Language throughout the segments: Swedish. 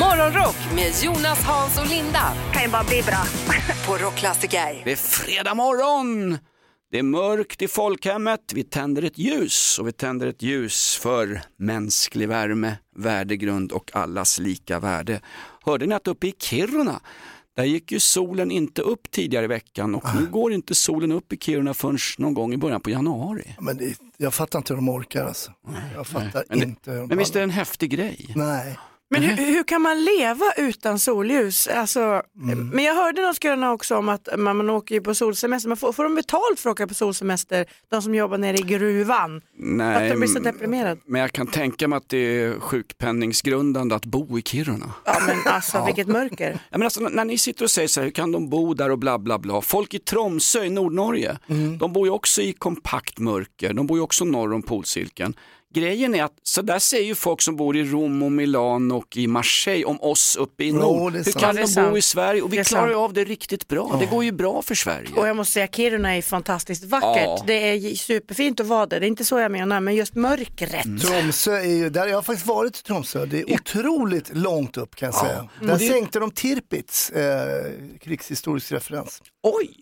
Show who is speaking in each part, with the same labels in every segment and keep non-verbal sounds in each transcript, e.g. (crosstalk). Speaker 1: Morgonrock med Jonas, Hans och Linda
Speaker 2: kan ju bara bli bra.
Speaker 1: (laughs) på Rockklassiker.
Speaker 3: Det är fredag morgon! Det är mörkt i folkhemmet, vi tänder ett ljus och vi tänder ett ljus för mänsklig värme, värdegrund och allas lika värde. Hörde ni att uppe i Kiruna, där gick ju solen inte upp tidigare i veckan och nu går inte solen upp i Kiruna förrän någon gång i början på januari.
Speaker 4: Men det, jag fattar inte hur de orkar alltså. Jag fattar
Speaker 3: Men,
Speaker 4: inte hur de
Speaker 3: det, men visst är det en häftig grej?
Speaker 4: Nej,
Speaker 5: Men hur, hur kan man leva utan solljus? Alltså,
Speaker 3: Mm.
Speaker 5: Men jag hörde något gröna också om att man, man åker ju på solsemester, men får, får de betalt för att åka på solsemester, de som jobbar nere i gruvan?
Speaker 3: Nej,
Speaker 5: att de blir så deprimerade?
Speaker 3: men jag kan tänka mig att det är sjukpenningsgrundande att bo i Kiruna.
Speaker 5: Ja men alltså vilket mörker.
Speaker 3: Ja, men alltså, när ni sitter och säger så här, hur kan de bo där och bla bla bla. Folk i Tromsö i Nordnorge,
Speaker 5: Mm.
Speaker 3: de bor ju också i kompakt mörker, de bor ju också norr om polcirkeln. Grejen är att så där säger ju folk som bor i Rom och Milan och i Marseille om oss uppe i
Speaker 4: Jo,
Speaker 3: nord.
Speaker 4: det är
Speaker 3: Hur
Speaker 4: sant.
Speaker 3: kan
Speaker 5: Ja, det
Speaker 3: de
Speaker 5: är
Speaker 3: bo
Speaker 5: sant.
Speaker 3: i Sverige? Och vi
Speaker 5: Det är
Speaker 3: klarar ju
Speaker 5: sant.
Speaker 3: av det riktigt bra. Det går ju bra för Sverige.
Speaker 5: Och jag måste säga Kiruna är fantastiskt vackert.
Speaker 3: Ja.
Speaker 5: Det är ju superfint att vara där, det är inte så jag menar, men just mörkret.
Speaker 3: Mm.
Speaker 4: Tromsö är ju, där jag har faktiskt varit i Tromsö, det är otroligt långt upp kan jag säga. Där sänkte de Tirpitz, eh, krigshistorisk referens.
Speaker 3: Oj,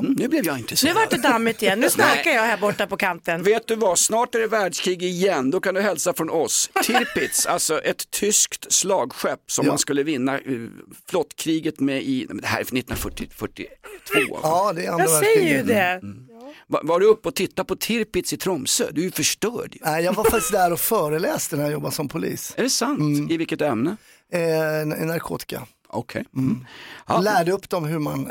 Speaker 3: mm, nu blev jag
Speaker 5: Nu
Speaker 3: intresserad.
Speaker 5: vart det dammigt igen, nu snarkar jag här borta på kanten.
Speaker 3: Vet du vad, snart är det världskrig igen, då kan du hälsa från oss.
Speaker 4: (laughs)
Speaker 3: Tirpitz, alltså ett tyskt slagskepp som
Speaker 4: Ja.
Speaker 3: man skulle vinna eh, flottkriget med i, nej, men det här är från 1942.
Speaker 4: Ja, det är andra
Speaker 5: Jag säger ju
Speaker 4: världskriget.
Speaker 5: det.
Speaker 3: Var, var du uppe och tittade på Tirpitz i Tromsö? Du är ju förstörd. ju.
Speaker 4: Nej, jag var faktiskt där och föreläste när jag jobbade som polis.
Speaker 3: Är det sant?
Speaker 4: Mm.
Speaker 3: I vilket ämne?
Speaker 4: Eh, n- narkotika.
Speaker 3: Okej. Mm. Ja.
Speaker 4: Lärde upp dem hur man...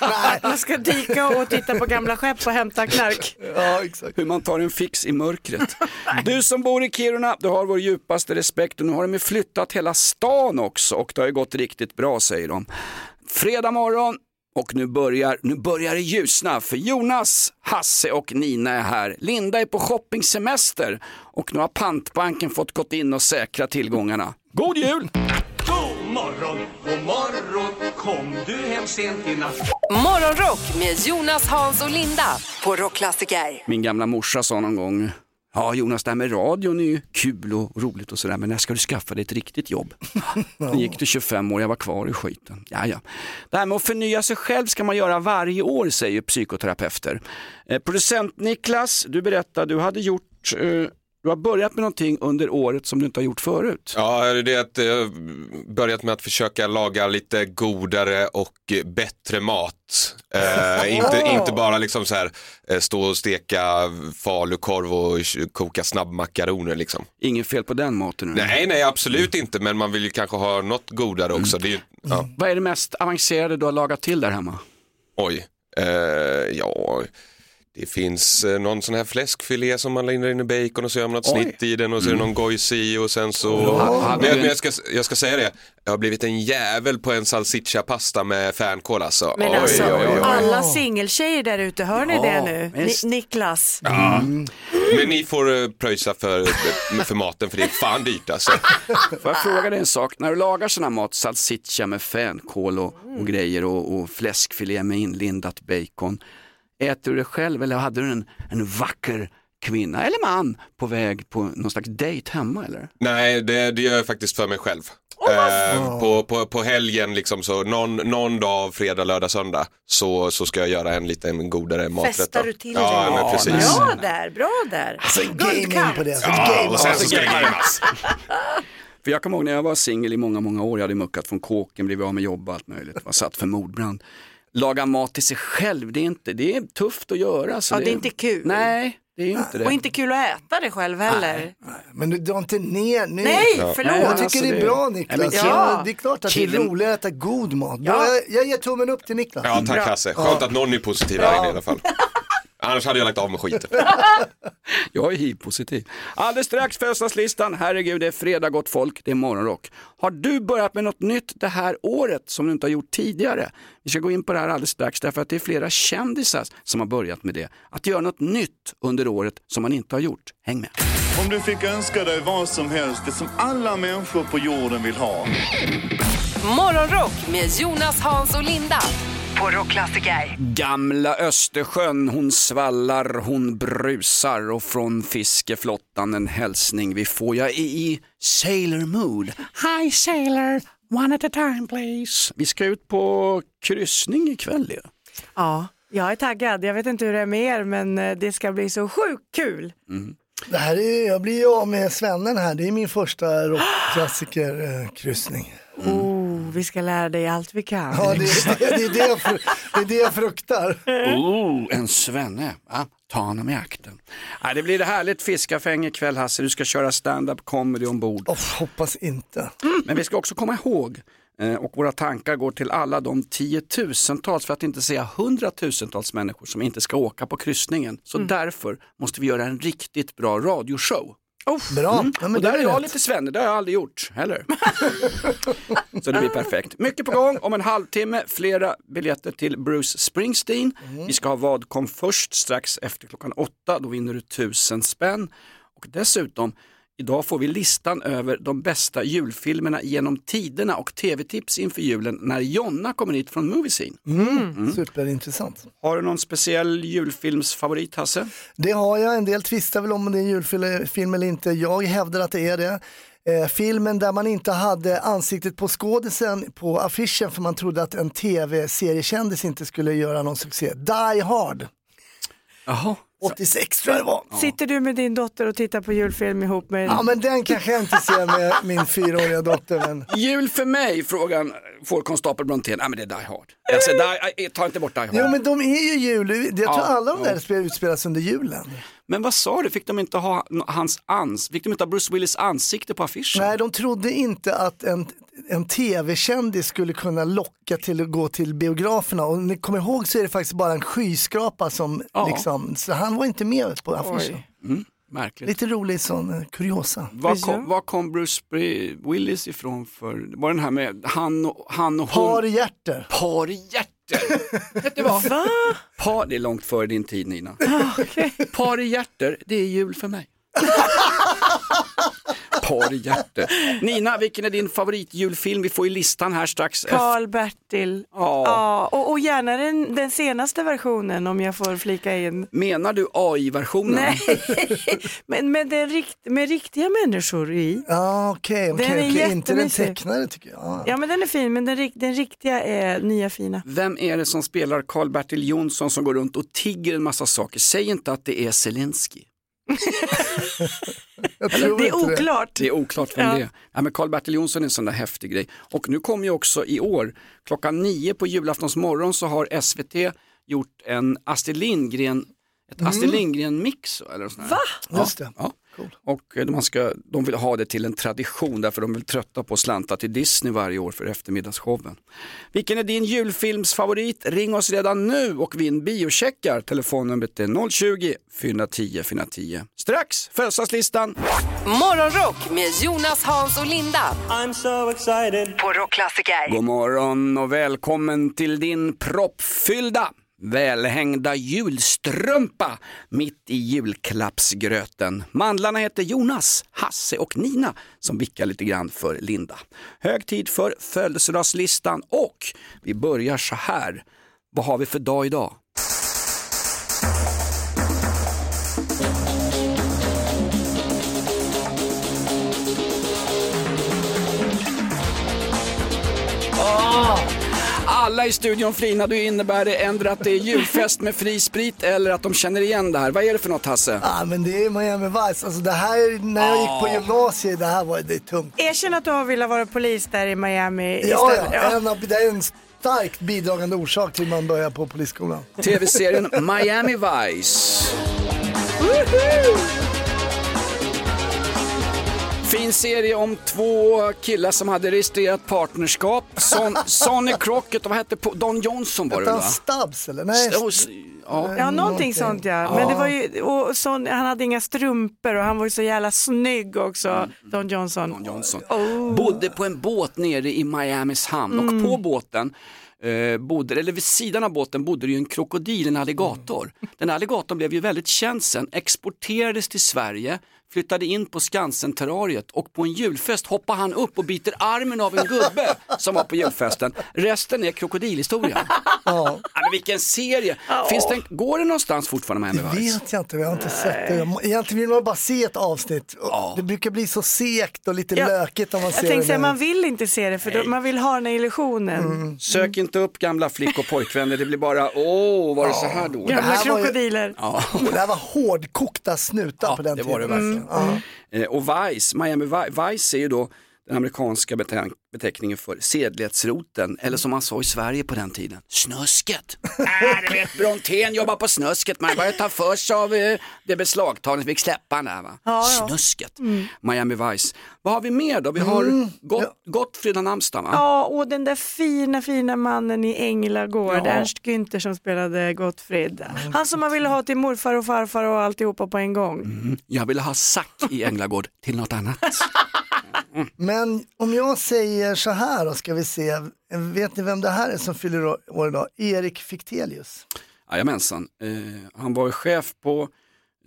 Speaker 4: Nej,
Speaker 5: Man ska dyka och titta på gamla skepp och hämta knark.
Speaker 4: (laughs) ja exakt.
Speaker 3: Hur man tar en fix i mörkret. Du som bor i Kiruna, du har vår djupaste respekt och nu har de ju flyttat hela stan också och det har ju gått riktigt bra säger de. Fredag morgon och nu börjar, nu börjar det ljusna för Jonas, Hasse och Nina är här. Linda är på shoppingsemester och nu har pantbanken fått gått in och säkra tillgångarna. God jul!
Speaker 6: God morgon, god morgon, kom du hem sent i natt?
Speaker 1: Morgonrock med Jonas, Hans och Linda på Rockklassiker.
Speaker 3: Min gamla morsa sa någon gång, ja Jonas det här med radion är ju kul och roligt och sådär men när ska du skaffa dig ett riktigt jobb? Sen gick det 25 år, jag var kvar i skiten. Jaja. Det här med att förnya sig själv ska man göra varje år säger psykoterapeuter. Eh, producent Niklas, du berättade du hade gjort eh, du har börjat med någonting under året som du inte har gjort förut.
Speaker 7: Ja, det är att eh, börjat med att försöka laga lite godare och eh, bättre mat. Eh, inte, inte bara liksom så här, eh, stå och steka falukorv och k- koka snabbmakaroner liksom.
Speaker 3: Inget fel på den maten. nu.
Speaker 7: Nej, nej absolut inte, men man vill ju kanske ha något godare också. Det är ju, ja,
Speaker 3: Vad är det mest avancerade du har lagat till där hemma?
Speaker 7: oj. Eh, ja, det finns eh, någon sån här fläskfilé som man lägger in i bacon och så gör man något
Speaker 3: Oj. Mm.
Speaker 7: snitt i den och så är det någon gojs i och sen så...
Speaker 3: Ha- hade
Speaker 7: Men,
Speaker 3: du
Speaker 7: jag, men
Speaker 3: en-
Speaker 7: jag, ska, jag ska säga det, jag har blivit en jävel på en salsiccia pasta med fänkål alltså.
Speaker 5: Men
Speaker 7: Oj,
Speaker 5: alltså,
Speaker 7: oj, oj.
Speaker 5: alla singeltjejer där ute, hör ni
Speaker 3: Ja,
Speaker 5: det nu? Ni,
Speaker 3: visst.
Speaker 5: Niklas.
Speaker 7: Men ni får eh, pröjsa för, för maten för det är fan dyrt alltså.
Speaker 3: Får jag fråga dig en sak? När du lagar sån här mat, salsiccia med fänkål och, och grejer och, och fläskfilé med inlindat bacon. Äter du det själv eller hade du en, en vacker kvinna eller man på väg på någon slags dejt hemma eller?
Speaker 7: Nej, det, det gör jag faktiskt för mig själv. Eh, på, på, på helgen, liksom, så någon, någon dag, fredag, lördag, söndag, så, så ska jag göra en liten godare maträtt.
Speaker 5: Festar
Speaker 7: då.
Speaker 5: du till
Speaker 7: ja, Alltså,
Speaker 5: dig?
Speaker 7: Men precis.
Speaker 5: Bra där, bra där.
Speaker 4: Så gaming på det. Så
Speaker 7: Ja,
Speaker 4: game.
Speaker 7: och sen så ska det gameas.
Speaker 3: För jag kommer ihåg när jag var singel i många, många år, jag hade muckat från kåken, blivit av med jobb och allt möjligt, var satt för mordbrand. Laga mat till sig själv, det är, inte, det är tufft att göra. Så
Speaker 5: Ja, det är inte kul.
Speaker 3: Nej, det är ju inte det.
Speaker 5: Och inte kul att äta det själv heller.
Speaker 4: Men du drar inte ner nu.
Speaker 5: Nej,
Speaker 3: Nej,
Speaker 4: Jag
Speaker 5: förlåt.
Speaker 4: tycker
Speaker 3: alltså,
Speaker 4: det
Speaker 3: det-
Speaker 4: är bra
Speaker 3: Nej,
Speaker 4: Niklas.
Speaker 3: men-
Speaker 5: Ja.
Speaker 4: ja. Det är klart att det
Speaker 3: Killen-
Speaker 4: är roligt att äta god mat.
Speaker 5: Ja.
Speaker 4: Bra, jag, jag ger tummen upp till Niklas.
Speaker 7: Ja, tack Hasse. Skönt att någon är positiv här inne i alla fall. Annars hade jag lagt av med skiten.
Speaker 3: Jag är hiv-positiv. Alldeles strax födelsedagslistan. Herregud, det är fredag gott folk, det är morgonrock. Har du börjat med något nytt det här året som du inte har gjort tidigare? Vi ska gå in på det här alldeles strax därför att det är flera kändisar som har börjat med det. Att göra något nytt under året som man inte har gjort. Häng med.
Speaker 8: Om du fick önska dig vad som helst, det som alla människor på jorden vill ha.
Speaker 1: Morgonrock med Jonas, Hans och Linda på Rockklassiker.
Speaker 3: Gamla Östersjön, hon svallar, hon brusar och från fiskeflottan en hälsning vi får. Jag är i Sailor Mood. Hi Sailor! One at a time please. Vi ska ut på kryssning ikväll ju.
Speaker 5: Ja, jag är taggad. Jag vet inte hur det är med er men eh, det ska bli så sjukt kul.
Speaker 9: Det här är, jag blir ju av med svennen här, det är min första eh, rockklassikerkryssning.
Speaker 7: Mm.
Speaker 5: Oh, vi ska lära dig allt vi kan.
Speaker 9: (laughs) Ja, det, är- det, är- det, är det, jag fru- det är det jag fruktar.
Speaker 3: Oh, en svenne. Ja, ta honom i akten. Ja, det blir ett härligt fiskafäng ikväll Hasse. Du ska köra stand-up comedy ombord.
Speaker 9: Oh, hoppas inte.
Speaker 3: (laughs) Men vi ska också komma ihåg eh, och våra tankar går till alla de tiotusentals, för att inte säga hundratusentals människor som inte ska åka på kryssningen. Så därför måste vi göra en riktigt bra radioshow.
Speaker 9: Bra. Ja, men
Speaker 3: Mm. och där
Speaker 9: det
Speaker 3: är jag
Speaker 9: rätt.
Speaker 3: lite svenne, det har jag aldrig gjort
Speaker 9: (laughs)
Speaker 3: heller. Så det blir perfekt. Mycket på gång, om en halvtimme flera biljetter till Bruce Springsteen.
Speaker 9: Mm.
Speaker 3: Vi ska ha Vadkom först strax efter klockan åtta, då vinner du tusen spänn. Och dessutom, idag får vi listan över de bästa julfilmerna genom tiderna och tv-tips inför julen när Jonna kommer hit från Movie Scene.
Speaker 9: Mm.
Speaker 3: Mm.
Speaker 9: Superintressant.
Speaker 3: Har du någon speciell julfilmsfavorit Hasse?
Speaker 9: Det har jag, en del tvistar väl om det är en julfilm eller inte. Jag hävdar att det är det. Eh, filmen där man inte hade ansiktet på skådisen på affischen för man trodde att en tv-seriekändis inte skulle göra någon succé. Die Hard,
Speaker 3: Jaha.
Speaker 9: 86 tror jag det var.
Speaker 5: Sitter du med din dotter och tittar på julfilm ihop med...
Speaker 9: Ja men den kanske jag inte ser med min fyraåriga dotter. Men...
Speaker 3: Jul för mig, frågan får konstapel Brontén. Nej men det är Die Hard. Jag säger, die, eh, ta inte bort Die Hard.
Speaker 9: Jo men de är ju jul, jag tror
Speaker 3: Ja,
Speaker 9: alla de där
Speaker 3: ja.
Speaker 9: spel utspelas under julen.
Speaker 3: Men vad sa du, fick de inte ha hans ans fick de inte ha Bruce Willis ansikte på affischen?
Speaker 9: Nej de trodde inte att en, en tv-kändis skulle kunna locka till att gå till biograferna och om ni kommer ihåg så är det faktiskt bara en skyskrapa som
Speaker 3: Ja.
Speaker 9: liksom, så han var inte med på affischen.
Speaker 3: Märkligt.
Speaker 9: Lite rolig sån eh, kuriosa.
Speaker 3: Var kom, var kom Bruce Bri- Willis ifrån för, var den här med han och, han och hon?
Speaker 9: Par hjärter.
Speaker 3: Parhjärter! (laughs) Vet du vad? Ah,
Speaker 5: Va?
Speaker 3: Par, det är långt före din tid Nina. Parhjärter, det är jul för (laughs) mig. Parhjärter. Nina, vilken är din favoritjulfilm? Vi får ju listan här strax. efter.
Speaker 5: Karl-Bertil.
Speaker 3: Ja.
Speaker 5: Ja, och, och gärna den, den senaste versionen om jag får flika in.
Speaker 3: Menar du AI-versionen?
Speaker 5: Nej, (laughs) men, men den rikt, med riktiga människor i.
Speaker 9: Ja okej, okej,
Speaker 5: Den är
Speaker 9: okej. inte den
Speaker 5: jättemysig.
Speaker 9: tecknade tycker jag. Ja.
Speaker 5: Ja men den är fin, men den, rik- den riktiga är nya fina.
Speaker 3: Vem är det som spelar Karl-Bertil Jonsson som går runt och tigger en massa saker? Säg inte att det är Zelensky.
Speaker 9: Jag tror
Speaker 5: Det är
Speaker 9: inte
Speaker 5: oklart.
Speaker 3: Det är oklart vem
Speaker 5: Ja.
Speaker 3: det är. Ja, men Karl-Bertil Jonsson är en sån där häftig grej. Och nu kommer ju också i år, klockan nio på julaftons morgon så har SVT gjort en Astrid Lindgren, ett Astrid Lindgren-mix. Eller något sånt där. Ja,
Speaker 9: Just det.
Speaker 3: Ja. Och eh, man ska, de vill ha det till en tradition därför de vill trötta på att slanta till Disney varje år för eftermiddagsshowen. Vilken är din julfilmsfavorit? Ring oss redan nu och vinn biocheckar. Telefonnumret är 020-410 410. Strax födelsedagslistan.
Speaker 10: Morgonrock med Jonas, Hans och Linda.
Speaker 4: I'm so excited.
Speaker 10: På Rockklassiker.
Speaker 3: God morgon och välkommen till din proppfyllda, välhängda julstrumpa mitt i julklappsgröten. Mandlarna heter Jonas, Hasse och Nina som vickar lite grann för Linda. Hög tid för födelsedagslistan och vi börjar så här. Vad har vi för dag idag? Alla i studion flinar, då innebär det ändå att det är julfest med fri sprit eller att de känner igen det här. Vad är det för något Hasse?
Speaker 9: Ja men det är Miami Vice, alltså det här, när jag gick på gymnasiet, det här var, det är tungt.
Speaker 5: Erkänn att du har velat vara polis där i Miami
Speaker 9: Ja,
Speaker 5: istället.
Speaker 9: ja. En, av- det är en starkt bidragande orsak till man börjar på polisskolan.
Speaker 3: TV-serien Miami Vice. Fin serie om två killar som hade registrerat partnerskap. Son, Sonny Crockett och vad hette po- Don Johnson var det
Speaker 9: Hette
Speaker 3: va?
Speaker 9: han Stubbs eller? Nej,
Speaker 3: Och s- Ja.
Speaker 5: Ja, någonting sånt ja. Men det var ju, och sån, han hade inga strumpor och han var ju så jävla snygg också, Don Johnson.
Speaker 3: Don Johnson.
Speaker 4: Oh.
Speaker 3: Bodde på en båt nere i Miamis hamn
Speaker 4: Mm.
Speaker 3: och på båten eh, bodde, eller vid sidan av båten bodde det ju en
Speaker 4: Mm.
Speaker 3: krokodil, en alligator. Den här alligatorn blev ju väldigt känd sen, exporterades till Sverige, flyttade in på Skansen-terrariet och på en julfest hoppar han upp och biter armen av en
Speaker 4: (laughs)
Speaker 3: gubbe som var på julfesten. Resten är krokodilhistoria.
Speaker 4: Ja.
Speaker 3: Alltså, vilken serie! Finns den, går det någonstans fortfarande med Andy Weiss?
Speaker 4: Vet jag inte, jag har inte sett det. Jag må- Egentligen vill man bara se ett avsnitt. Det brukar bli så segt och lite
Speaker 5: Ja.
Speaker 4: lökigt om man
Speaker 5: Jag
Speaker 4: ser det.
Speaker 5: tänkte säga,
Speaker 4: nu.
Speaker 5: man vill inte se det för då, man vill ha den här illusionen.
Speaker 3: Sök inte upp gamla flick och pojkvänner, det blir bara åh, var det så här dåligt?
Speaker 5: Gamla
Speaker 4: här var ju-
Speaker 5: krokodiler.
Speaker 4: Det här var hårdkokta snutar på den
Speaker 3: det
Speaker 4: tiden. alltså.
Speaker 3: var det verkligen. Eh, Och Vice, Miami Vi- Vice är ju då den amerikanska bete- beteckningen för sedlighetsroten, eller som man sa i Sverige på den tiden, snusket. äh, det vet Brontén jobbar på snusket, man börjar ta för sig av eh, det beslagtagna, fick släppa han där va. Snusket, Miami Vice. Vad har vi mer då? Vi har Gott, Gottfrid av Namnstam va?
Speaker 5: Ja, och den där fina, fina mannen i Änglagård, Ernst Günther som spelade Gottfrid. Han som man ville ha till morfar och farfar och alltihopa på en gång.
Speaker 3: Jag ville ha Sack i Änglagård till något annat.
Speaker 4: Men om jag säger så här då, ska vi se. Vet ni vem det här är som fyller år idag? Erik Fichtelius.
Speaker 3: Jajamensan. Eh, han var ju chef på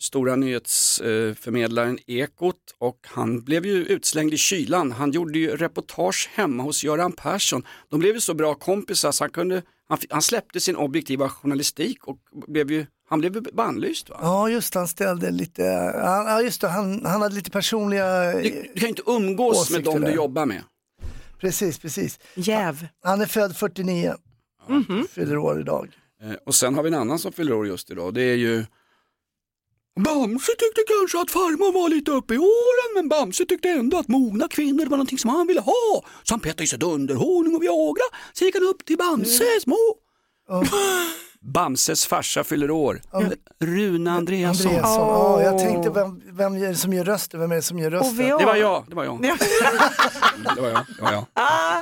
Speaker 3: stora nyhetsförmedlaren eh, Ekot och han blev ju utslängd i kylan. Han gjorde ju reportage hemma hos Göran Persson. De blev ju så bra kompisar så han, kunde, han, f- han släppte sin objektiva journalistik och blev ju, han blev ju bannlyst. Va?
Speaker 4: Ja just det, han ställde lite, han- ja just det, han, han hade lite personliga,
Speaker 3: Du, du kan ju inte umgås med
Speaker 4: Åsikter
Speaker 3: dem du
Speaker 4: där.
Speaker 3: jobbar med.
Speaker 4: precis, precis.
Speaker 5: Jäv.
Speaker 4: Han är född 49,
Speaker 3: Mm-hmm.
Speaker 4: fyller år idag.
Speaker 3: Eh, och sen har vi en annan som fyller år just idag. Det är ju Bamse tyckte kanske att farmor var lite uppe i åren men Bamse tyckte ändå att mogna kvinnor var någonting som han ville ha. Så han petade i sig dunderhonung och Viagra, så gick han upp till
Speaker 4: Mm.
Speaker 3: Bamse små. (laughs) Bamses farsa fyller år. Rune Andreasson.
Speaker 4: Andreasson, ja jag tänkte vem, vem är det som gör rösten, vem är det som gör
Speaker 5: Och
Speaker 4: rösten?
Speaker 5: vi
Speaker 3: Det var
Speaker 5: (laughs)
Speaker 3: jag, det var jag. Det var jag, det var jag.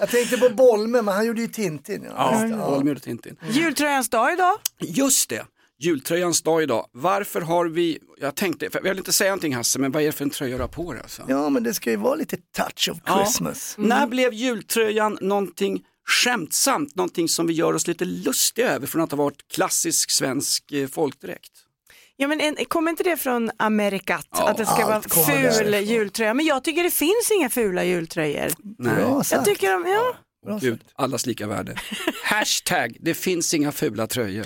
Speaker 4: Jag tänkte på Bolme, men han gjorde ju Tintin. Ja.
Speaker 3: Ja, Holmjord och Tintin.
Speaker 5: Jultröjans dag idag.
Speaker 3: Just det, jultröjans dag idag. Varför har vi, jag tänkte, för jag vill inte säga någonting Hasse, men vad är det för en tröja du har på dig alltså?
Speaker 4: Ja men det ska ju vara lite touch of Christmas.
Speaker 3: Mm. När blev jultröjan någonting skämtsamt, någonting som vi gör oss lite lustiga över från att ha varit klassisk svensk eh, folkdräkt?
Speaker 5: Ja, men en, kommer inte det från Amerikat? att det ska vara
Speaker 4: allt kommer
Speaker 5: ful
Speaker 4: därifrån.
Speaker 5: jultröja. Men jag tycker det finns inga fula jultröjor.
Speaker 4: Bra sagt.
Speaker 5: Jag tycker de, ja.
Speaker 4: Bra
Speaker 3: Gud, allas lika värde. (laughs) Hashtag, det finns inga fula tröjor.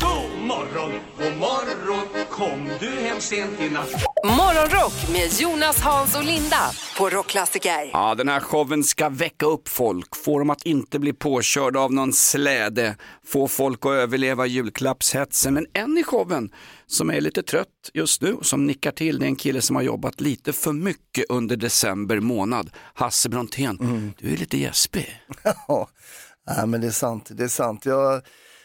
Speaker 6: God morgon, god morgon, kom du hem sent i natt?
Speaker 1: Morgonrock med Jonas, Hans och Linda på Rockklassiker.
Speaker 3: Ja, den här showen ska väcka upp folk, få dem att inte bli påkörda av någon släde, få folk att överleva julklappshetsen. Men en i showen som är lite trött just nu och som nickar till, det är en kille som har jobbat lite för mycket under december månad. Hasse Brontén, du är lite gäspig.
Speaker 4: Ja, nej, men det är sant. Det är sant. Jag,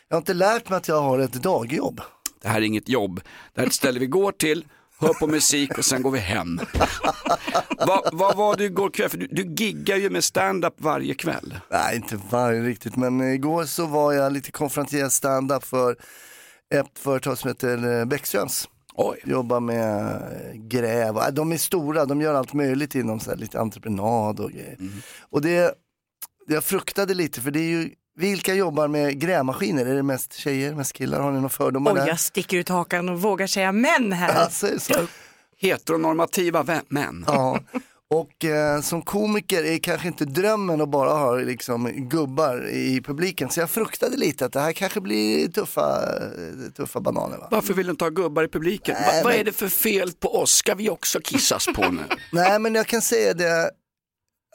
Speaker 4: jag har inte lärt mig att jag har ett dagjobb.
Speaker 3: Det här är inget jobb, det här är ett ställe vi går till, hör på musik och sen går vi hem. Vad vad var du igår kväll? För du, du giggar ju med stand-up varje kväll.
Speaker 4: Nej, inte varje riktigt, men igår så var jag lite konfronterad stand-up för ett företag som heter eh, Bäckströms.
Speaker 3: Oj.
Speaker 4: Jobbar med eh, gräv, och- äh, de är stora, de gör allt möjligt inom så här, lite entreprenad och grejer. Och det, jag fruktade lite för det är ju, vilka jobbar med grävmaskiner? Är det mest tjejer, mest killar? Har ni några fördomar
Speaker 5: Oj,
Speaker 4: där? (laughs)
Speaker 5: jag sticker ut hakan och vågar säga män här.
Speaker 4: Alltså, så.
Speaker 3: Heteronormativa vä- män.
Speaker 4: Ja. Och eh, som komiker är kanske inte drömmen att bara ha liksom, gubbar i publiken. Så jag fruktade lite att det här kanske blir tuffa, eh, tuffa bananer. Va?
Speaker 3: Varför vill du inte ha gubbar i publiken? Va, Vad är det för fel på oss? Ska vi också kissas på nu?
Speaker 4: Nej men jag kan säga det,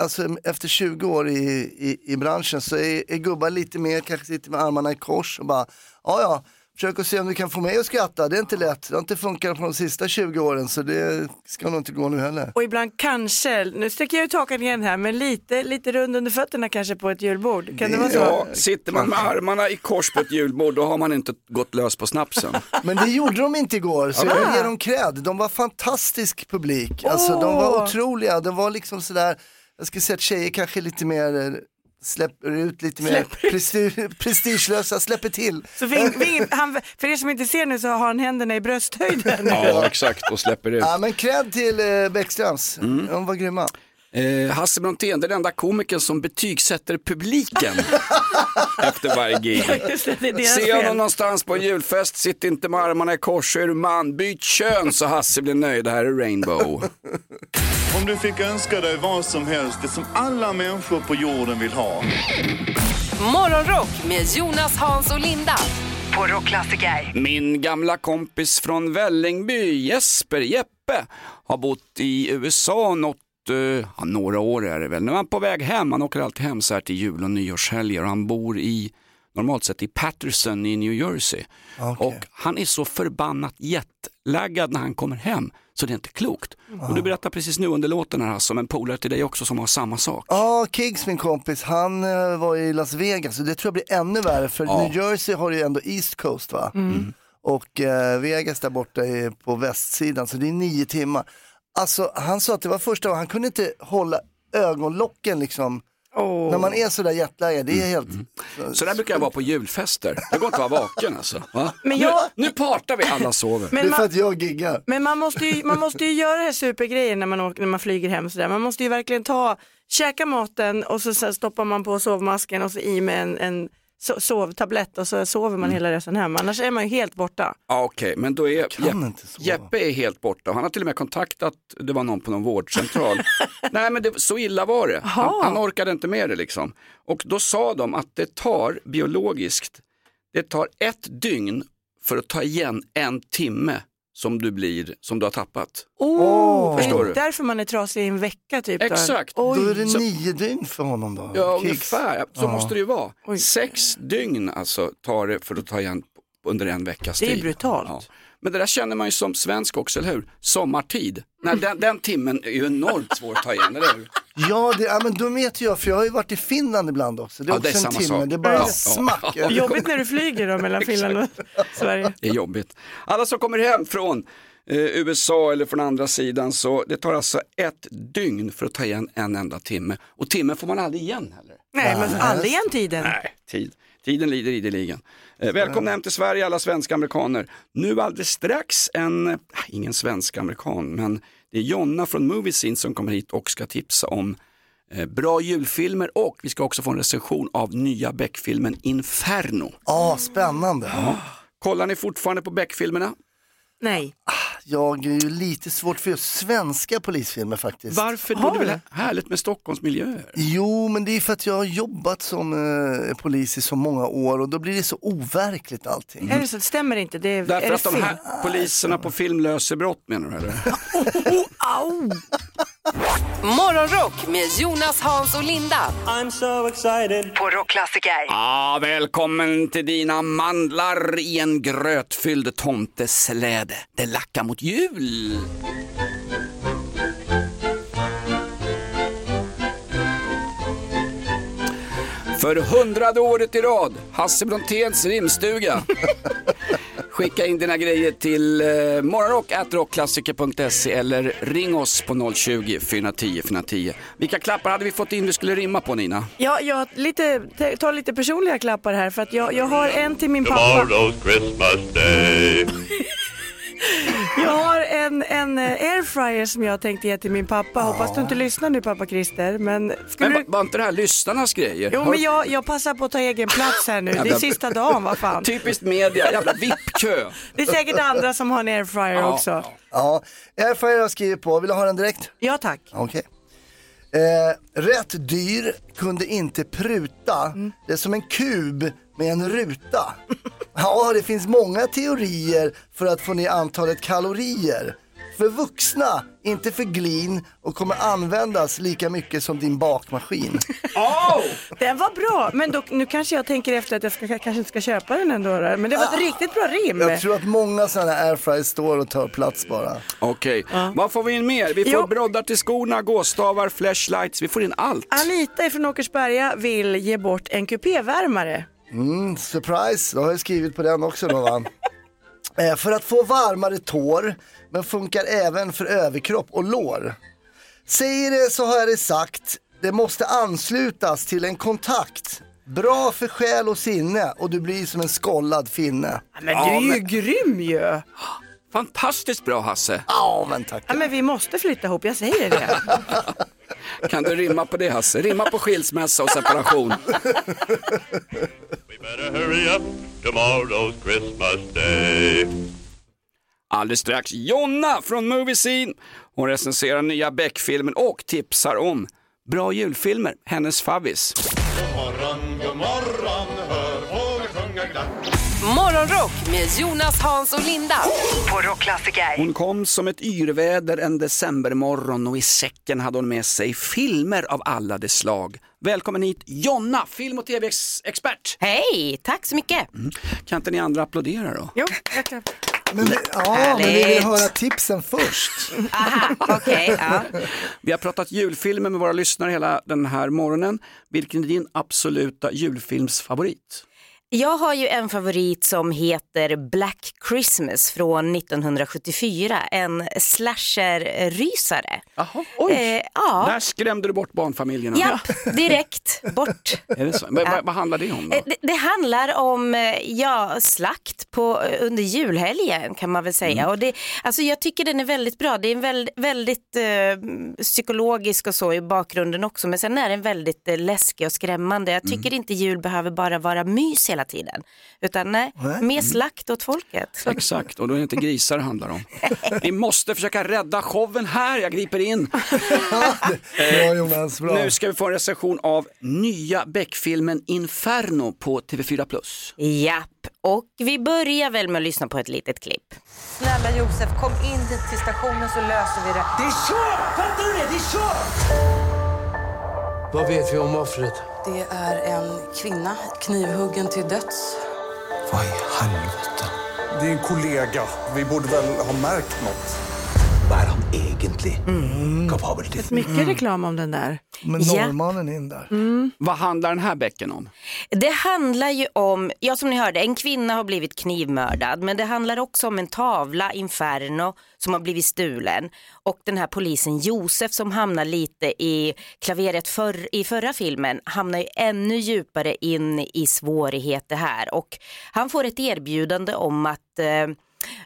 Speaker 4: alltså, efter 20 år i, i, i branschen så är, är gubbar lite mer, kanske sitter med armarna i kors och bara, ja ja, försök att se om du kan få mig att skratta, det är inte lätt, det har inte funkat på de sista 20 åren så det ska nog inte gå nu heller.
Speaker 5: Och ibland kanske, nu sticker jag ut hakan igen här, men lite, lite rund under fötterna kanske på ett julbord. Kan det, vara så?
Speaker 3: Ja, sitter man med armarna i kors på ett julbord då har man inte gått lös på snapsen.
Speaker 4: Men det gjorde de inte igår, så
Speaker 3: Ja, men-
Speaker 4: jag ger dem cred. De var fantastisk publik. Alltså, de
Speaker 3: Åh.
Speaker 4: var otroliga. De var liksom sådär, jag skulle säga att tjejer kanske lite mer eh, släpper ut lite mer
Speaker 5: Släpper
Speaker 4: presti- (laughs) prestigelösa, släpper till.
Speaker 5: Så ving, ving, han, för er som inte ser nu så har han händerna i brösthöjden.
Speaker 3: Ja, exakt, och släpper ut.
Speaker 4: Ja, men cred till eh, Bäckströms,
Speaker 3: Mm.
Speaker 4: de var grymma.
Speaker 3: Eh, Hasse Brontén, det är den enda komikern som betygsätter publiken efter varje gig.
Speaker 5: Ja, (laughs) just det, det är deras
Speaker 3: Ser honom
Speaker 5: fel.
Speaker 3: någonstans på en julfest, sitt inte med armarna i kors, så är du man, byt kön så Hasse blir nöjd, det här är Rainbow.
Speaker 8: Om du fick önska dig vad som helst, det som alla människor på jorden vill ha.
Speaker 1: Morgonrock med Jonas, Hans och Linda på Rockklassiker.
Speaker 3: Min gamla kompis från Vällingby, Jesper Jeppe, har bott i USA något eh, ja, några år är det väl. Nu är han på väg hem, han åker alltid hem så här till jul och nyårshelger och han bor i, normalt sett i Patterson i New Jersey. Och han är så förbannat jetlaggad när han kommer hem så det är inte klokt. Och du berättar precis nu under låten här Hasse om en polare till dig också som har samma sak.
Speaker 4: Ja, Kiggs min kompis, han eh, var i Las Vegas och det tror jag blir ännu värre för
Speaker 3: Ja.
Speaker 4: New Jersey har ju ändå East Coast va?
Speaker 3: Mm.
Speaker 4: Och eh, Vegas där borta är på västsidan så det är nio timmar. Alltså han sa att det var första gången, han kunde inte hålla ögonlocken liksom. När man är sådär jetlaggad,
Speaker 3: Mm.
Speaker 4: det är helt...
Speaker 3: Så där brukar jag vara på julfester. Det går inte att vara vaken alltså. Va?
Speaker 5: Men jag-
Speaker 3: nu, nu partar vi, alla sover.
Speaker 5: Men Det är för man- att
Speaker 4: jag giggar.
Speaker 5: Men man måste ju, man måste ju göra det här supergrejen när man, åker, när man flyger hem sådär. Man måste ju verkligen ta, käka maten och så, sen stoppar man på sovmasken och så i med en, en so- sovtablett och så sover
Speaker 3: Mm.
Speaker 5: man hela resan hem. Annars är man ju helt borta.
Speaker 3: Ja, Okej, men då är Jepp- Jeppe är helt borta. Han har till och med kontaktat, det var någon på någon vårdcentral. Nej men det, så illa var det. Han, han orkade inte med det liksom. Och då sa de att det tar biologiskt, det tar ett dygn för att ta igen en timme som du blir, som du har tappat.
Speaker 5: Oh,
Speaker 3: Förstår
Speaker 5: Det
Speaker 3: du?
Speaker 5: är därför man är trasig i en vecka typ. då.
Speaker 3: Exakt.
Speaker 5: Oj.
Speaker 4: Då är det nio dygn för honom då?
Speaker 3: Ja,
Speaker 4: Kicks.
Speaker 3: ungefär. Så
Speaker 4: Ja.
Speaker 3: måste det ju vara. Sex dygn alltså tar det för att ta igen under en veckas
Speaker 4: Det är
Speaker 3: tid.
Speaker 4: brutalt.
Speaker 3: Ja. Men det där känner man ju som svensk också, eller hur? Sommartid. Nej, den, den timmen är ju enormt svår att ta igen, eller hur?
Speaker 4: Ja, det, ja, men då vet jag, för jag har ju varit i Finland ibland också. Det är
Speaker 3: Ja,
Speaker 4: också
Speaker 3: det är
Speaker 4: en
Speaker 3: samma
Speaker 4: timme,
Speaker 3: sak.
Speaker 4: det är bara
Speaker 3: Ja.
Speaker 4: smack.
Speaker 3: Ja.
Speaker 5: Jobbigt när du flyger då
Speaker 3: (laughs)
Speaker 5: mellan Finland och Sverige.
Speaker 3: Det är jobbigt. Alla som kommer hem från eh, USA eller från andra sidan, så det tar alltså ett dygn för att ta igen en enda timme. Och timmen får man aldrig igen heller.
Speaker 5: Nej, men aldrig igen tiden.
Speaker 3: Nej, tid. Tiden lider ideligen. Eh, välkomna hem till Sverige alla svenska amerikaner. Nu alldeles strax en, eh, ingen svensk amerikan, men det är Jonna från Movie Scene som kommer hit och ska tipsa om eh, bra julfilmer och vi ska också få en recension av nya Beck-filmen Inferno.
Speaker 4: Ja, spännande.
Speaker 3: Kollar ni fortfarande på Beck-filmerna?
Speaker 5: Nej.
Speaker 4: Jag är ju lite svårt för just svenska polisfilmer faktiskt.
Speaker 3: Varför då? Det är väl härligt med Stockholmsmiljöer?
Speaker 4: Jo, men det är för att jag har jobbat som eh, polis i så många år och då blir det så overkligt allting.
Speaker 5: Är det så? Stämmer inte? Det är, är
Speaker 3: Därför
Speaker 5: det
Speaker 3: att de
Speaker 5: fel?
Speaker 3: här poliserna på film löser brott menar du eller?
Speaker 1: Morgonrock med Jonas, Hans och Linda. I'm so excited. På Rockklassiker.
Speaker 3: Ah, välkommen till dina mandlar i en grötfylld tomtesläde. Det lackar mot jul. För hundrade året i rad, Hasse Bronténs rimstuga. Skicka in dina grejer till eh, morgonrock.rockklassiker.se eller ring oss på 020 410 410. Vilka klappar hade vi fått in vi skulle rimma på Nina?
Speaker 5: Ja, jag lite, tar lite personliga klappar här för att jag, jag har en till min pappa.
Speaker 11: Tomorrow's Christmas Day.
Speaker 5: Jag har en, en eh, airfryer som jag tänkte ge till min pappa. Hoppas du inte lyssnar nu pappa Christer. Men skulle
Speaker 3: Men va-
Speaker 5: du...
Speaker 3: var inte det här lyssnarnas grejer?
Speaker 5: Jo
Speaker 3: Har-
Speaker 5: men jag, jag passar på att ta egen plats här nu. Det är
Speaker 3: Jävla-
Speaker 5: sista dagen, vad fan.
Speaker 3: Typiskt media, jävla
Speaker 5: (laughs)
Speaker 3: VIP-kö.
Speaker 5: Det är säkert andra som har en airfryer
Speaker 4: Ja.
Speaker 5: också.
Speaker 4: Ja, Airfryer har skrivit på. Vill du ha den direkt?
Speaker 5: Ja tack.
Speaker 4: Okej. Eh, rätt dyr, kunde inte pruta. Det är som en kub med en ruta. (laughs) ja, det finns många teorier för att få ner antalet kalorier. för vuxna, inte för glin och kommer användas lika mycket som din bakmaskin.
Speaker 5: Den var bra, men då, nu kanske jag tänker efter att jag ska, kanske inte ska köpa den ändå. då. Men det var ett riktigt bra rim.
Speaker 4: Jag tror att många sådana här airfryers står och tar plats bara.
Speaker 3: Okej, vad får vi in mer? Vi får
Speaker 5: Jo.
Speaker 3: broddar till skorna, gåstavar, flashlights, vi får in allt.
Speaker 5: Anita från Åkersberga vill ge bort en kupévärmare.
Speaker 4: Mm, surprise, då har jag skrivit på den också då va. Eh, för att få varmare tår, men funkar även för överkropp och lår. Säger det så har jag det sagt, det måste anslutas till en kontakt. Bra för själ och sinne och du blir som en skollad finne.
Speaker 5: men du är ju grym ju!
Speaker 3: Fantastiskt bra Hasse.
Speaker 4: Ja, men tack.
Speaker 5: Ja, men vi måste flytta ihop, jag säger det.
Speaker 3: Kan du rimma på det Hasse? Rimma på skilsmässa och separation.
Speaker 11: Hurry up, tomorrow's Christmas day.
Speaker 3: Alldeles strax Jonna från Movie Scene. Hon recenserar nya Beck-filmen och tipsar om bra julfilmer, hennes favvis.
Speaker 6: God morgon, god morgon, hör fåglar sjunga glatt.
Speaker 1: Morgonrock med Jonas, Hans och Linda på Rockklassiker.
Speaker 3: Hon kom som ett yrväder en decembermorgon och i säcken hade hon med sig filmer av alla de slag. Välkommen hit Jonna, film och tv-expert.
Speaker 10: Hej, tack så mycket.
Speaker 3: Kan inte ni andra applådera då?
Speaker 5: Jo,
Speaker 4: Men, vi- ja, men vi vill
Speaker 3: Härligt.
Speaker 4: höra tipsen först.
Speaker 3: Vi har pratat julfilmer med våra lyssnare hela den här morgonen. Vilken är din absoluta julfilmsfavorit?
Speaker 10: Jag har ju en favorit som heter Black Christmas från 1974, en slasher-rysare.
Speaker 3: Oj,
Speaker 10: Eh, ja,
Speaker 3: där skrämde du bort barnfamiljerna.
Speaker 10: Japp, direkt bort.
Speaker 3: Är det så? Men,
Speaker 10: Ja.
Speaker 3: vad, vad handlar det om då?
Speaker 10: Eh, Det, det handlar om eh, ja, slakt på, eh, under julhelgen kan man väl säga.
Speaker 3: Mm.
Speaker 10: Och det, alltså jag tycker den är väldigt bra. Det är en väl, väldigt eh, psykologisk och så i bakgrunden också. Men sen är den väldigt eh, läskig och skrämmande. Jag tycker
Speaker 3: Mm.
Speaker 10: inte jul behöver bara vara mys hela tiden. Utan nej,
Speaker 3: Nej.
Speaker 10: mer slakt åt folket.
Speaker 3: Exakt, och då är det inte grisar det handlar om. Vi måste försöka rädda showen här, jag griper in.
Speaker 4: Bra Jonas, bra.
Speaker 3: Nu ska vi få en recension av nya Beck-filmen Inferno på TV4+.
Speaker 10: Japp, och vi börjar väl med att lyssna på ett litet klipp.
Speaker 12: Snälla Josef, kom in dit till stationen så löser vi det. Det är kört! Fattar du det? Det är kört!
Speaker 13: (laughs) Vad vet vi om offret?
Speaker 12: Det är en kvinna, knivhuggen till döds.
Speaker 13: Vad i helvete? Det är en kollega. Vi borde väl ha märkt något. Vad är han egentligen kapabel till?
Speaker 5: Mycket reklam om den där.
Speaker 4: Men
Speaker 10: Ja.
Speaker 4: norrmannen in där.
Speaker 3: Vad handlar den här Becken om?
Speaker 10: Det handlar ju om, ja som ni hörde, en kvinna har blivit knivmördad men det handlar också om en tavla, Inferno, som har blivit stulen och den här polisen Josef som hamnar lite i klaveret förr, i förra filmen hamnar ju ännu djupare in i svårigheter här och han får ett erbjudande om att eh,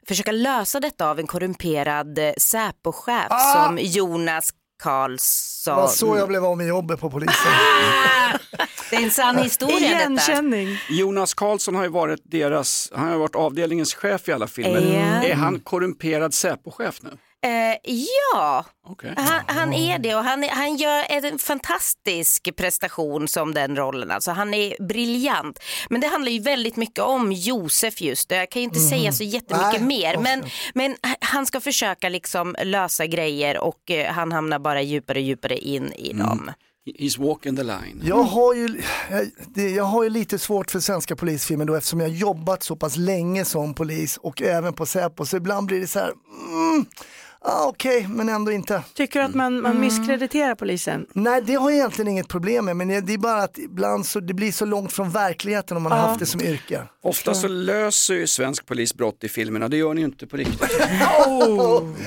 Speaker 10: försöka lösa detta av en korrumperad eh, Säpochef som Jonas Karlsson.
Speaker 4: Det var Ah! så jag blev av med jobbet på polisen.
Speaker 10: Det är en sann historia detta.
Speaker 3: Jonas Karlsson har ju varit deras, han har ju varit avdelningens chef i alla filmer.
Speaker 10: Ja.
Speaker 3: Är han korrumperad Säpo-chef nu?
Speaker 10: Eh, ja,
Speaker 3: Okej.
Speaker 10: han, han är det och han, är, han gör en fantastisk prestation som den rollen. Alltså, han är briljant. Men det handlar ju väldigt mycket om Josef just. Jag kan ju inte
Speaker 12: Mhm.
Speaker 10: säga så jättemycket
Speaker 12: Nej,
Speaker 10: mer.
Speaker 12: okej.
Speaker 10: Men, men han ska försöka liksom lösa grejer och eh, han hamnar bara djupare och djupare in i
Speaker 12: Mm.
Speaker 10: dem.
Speaker 3: He's walking the line.
Speaker 4: Jag har, ju, jag, det, jag har ju lite svårt för svenska polisfilmer då eftersom jag jobbat så pass länge som polis och även på Säpo så ibland blir det så här, mm, ah, okej men ändå inte.
Speaker 5: Tycker du att man, man misskrediterar polisen?
Speaker 4: Nej det har jag egentligen inget problem med men det är bara att ibland så det blir så långt från verkligheten om man
Speaker 3: Ja.
Speaker 4: har haft det som yrke.
Speaker 3: Ofta så löser ju svensk polis brott i filmerna, det gör ni ju inte på (laughs) riktigt.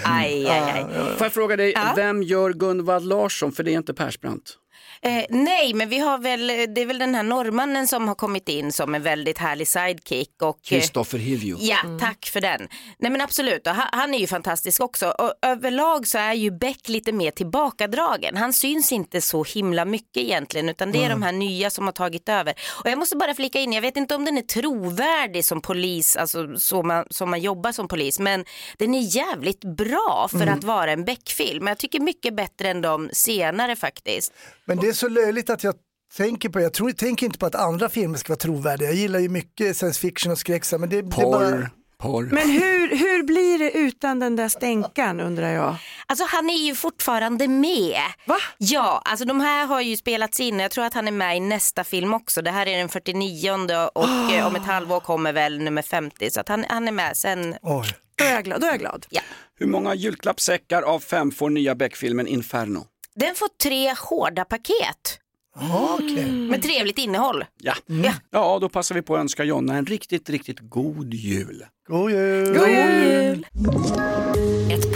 Speaker 10: Aj,
Speaker 12: Mm.
Speaker 10: aj, aj.
Speaker 3: Får jag fråga dig, vem gör Gunvald Larsson? För det är inte Persbrandt.
Speaker 10: Eh, nej, men vi har väl, det är väl den här norrmannen som har kommit in som en väldigt härlig sidekick. Och, eh,
Speaker 3: Kristoffer Hivju.
Speaker 10: Ja, tack för den. Nej men absolut, och han, han är ju fantastisk också. Och överlag så är ju Beck lite mer tillbakadragen. Han syns inte så himla mycket egentligen utan det är
Speaker 12: Mm.
Speaker 10: de här nya som har tagit över. Och jag måste bara flika in, jag vet inte om den är trovärdig som polis, alltså så man, som man jobbar som polis, men den är jävligt bra för
Speaker 4: Mm.
Speaker 10: att vara en Beck-film. Jag tycker mycket bättre än de senare faktiskt.
Speaker 4: Men det är så löjligt att jag tänker på det. Jag tror, tänker inte på att andra filmer ska vara trovärdiga. Jag gillar ju mycket science fiction och skräck så här, men det, det är bara...
Speaker 3: Porr, par.
Speaker 5: Men hur, hur blir det utan den där stänkan undrar jag?
Speaker 10: Alltså han är ju fortfarande med. Va? Ja, alltså de här har ju spelats in och jag tror att han är med i nästa film också. Det här är den 49 och eh, om ett halvår kommer väl nummer 50 så att han, han är med sen.
Speaker 3: Oj.
Speaker 5: Då är jag glad. Då är jag glad.
Speaker 10: Ja.
Speaker 3: Hur många julklappssäckar av fem får nya Beck-filmen Inferno?
Speaker 10: Den får tre hårda paket. Med trevligt innehåll.
Speaker 3: Ja. ja, då passar vi på att önska Jonna en riktigt, riktigt god jul.
Speaker 4: God jul!
Speaker 14: God jul! Ett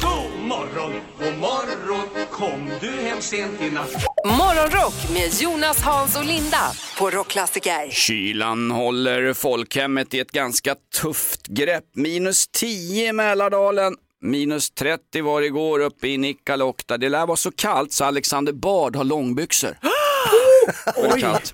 Speaker 6: God morgon, god morgon, kom du hem sent i natt?
Speaker 1: Morgonrock med Jonas, Hans och Linda på Rockklassiker.
Speaker 3: Kylan håller folkhemmet i ett ganska tufft grepp. Minus 10 i Mälardalen. Minus 30 var det igår uppe i Nikkaluokta. Det lär vara så kallt så Alexander Bard har långbyxor. För det är kallt.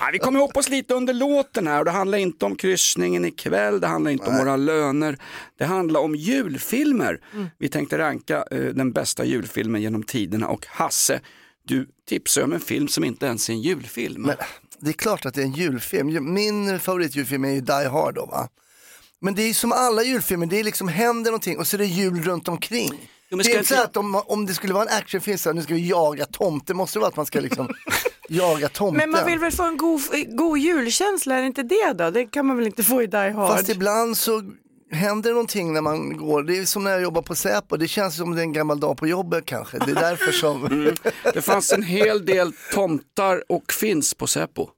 Speaker 3: Nej, vi kommer ihop oss lite under låten här och det handlar inte om kryssningen ikväll, det handlar inte om våra löner. Det handlar om julfilmer. Vi tänkte ranka eh, den bästa julfilmen genom tiderna och Hasse, du tipsade om en film som inte ens är en julfilm.
Speaker 4: Men det är klart att det är en julfilm. Ju- Min favoritjulfilm är ju Die Hard då va? Men det är ju som alla julfilmer, det är liksom händer någonting och så är det jul runt omkring.
Speaker 3: men
Speaker 4: det
Speaker 3: ska
Speaker 4: är inte så att om, om det skulle vara en actionfilm så här, nu ska vi jaga tomten, måste det vara att man ska liksom
Speaker 3: (laughs)
Speaker 4: jaga tomten.
Speaker 5: Men man vill väl få en god, god julkänsla, är det inte det då? Det kan man väl inte få i Die Hard?
Speaker 4: Fast ibland så händer någonting när man går, det är som när jag jobbar på Säpo, det känns som det är en gammal dag på jobbet kanske, det är därför som...
Speaker 3: Det fanns en hel del tomtar och finns på Säpo.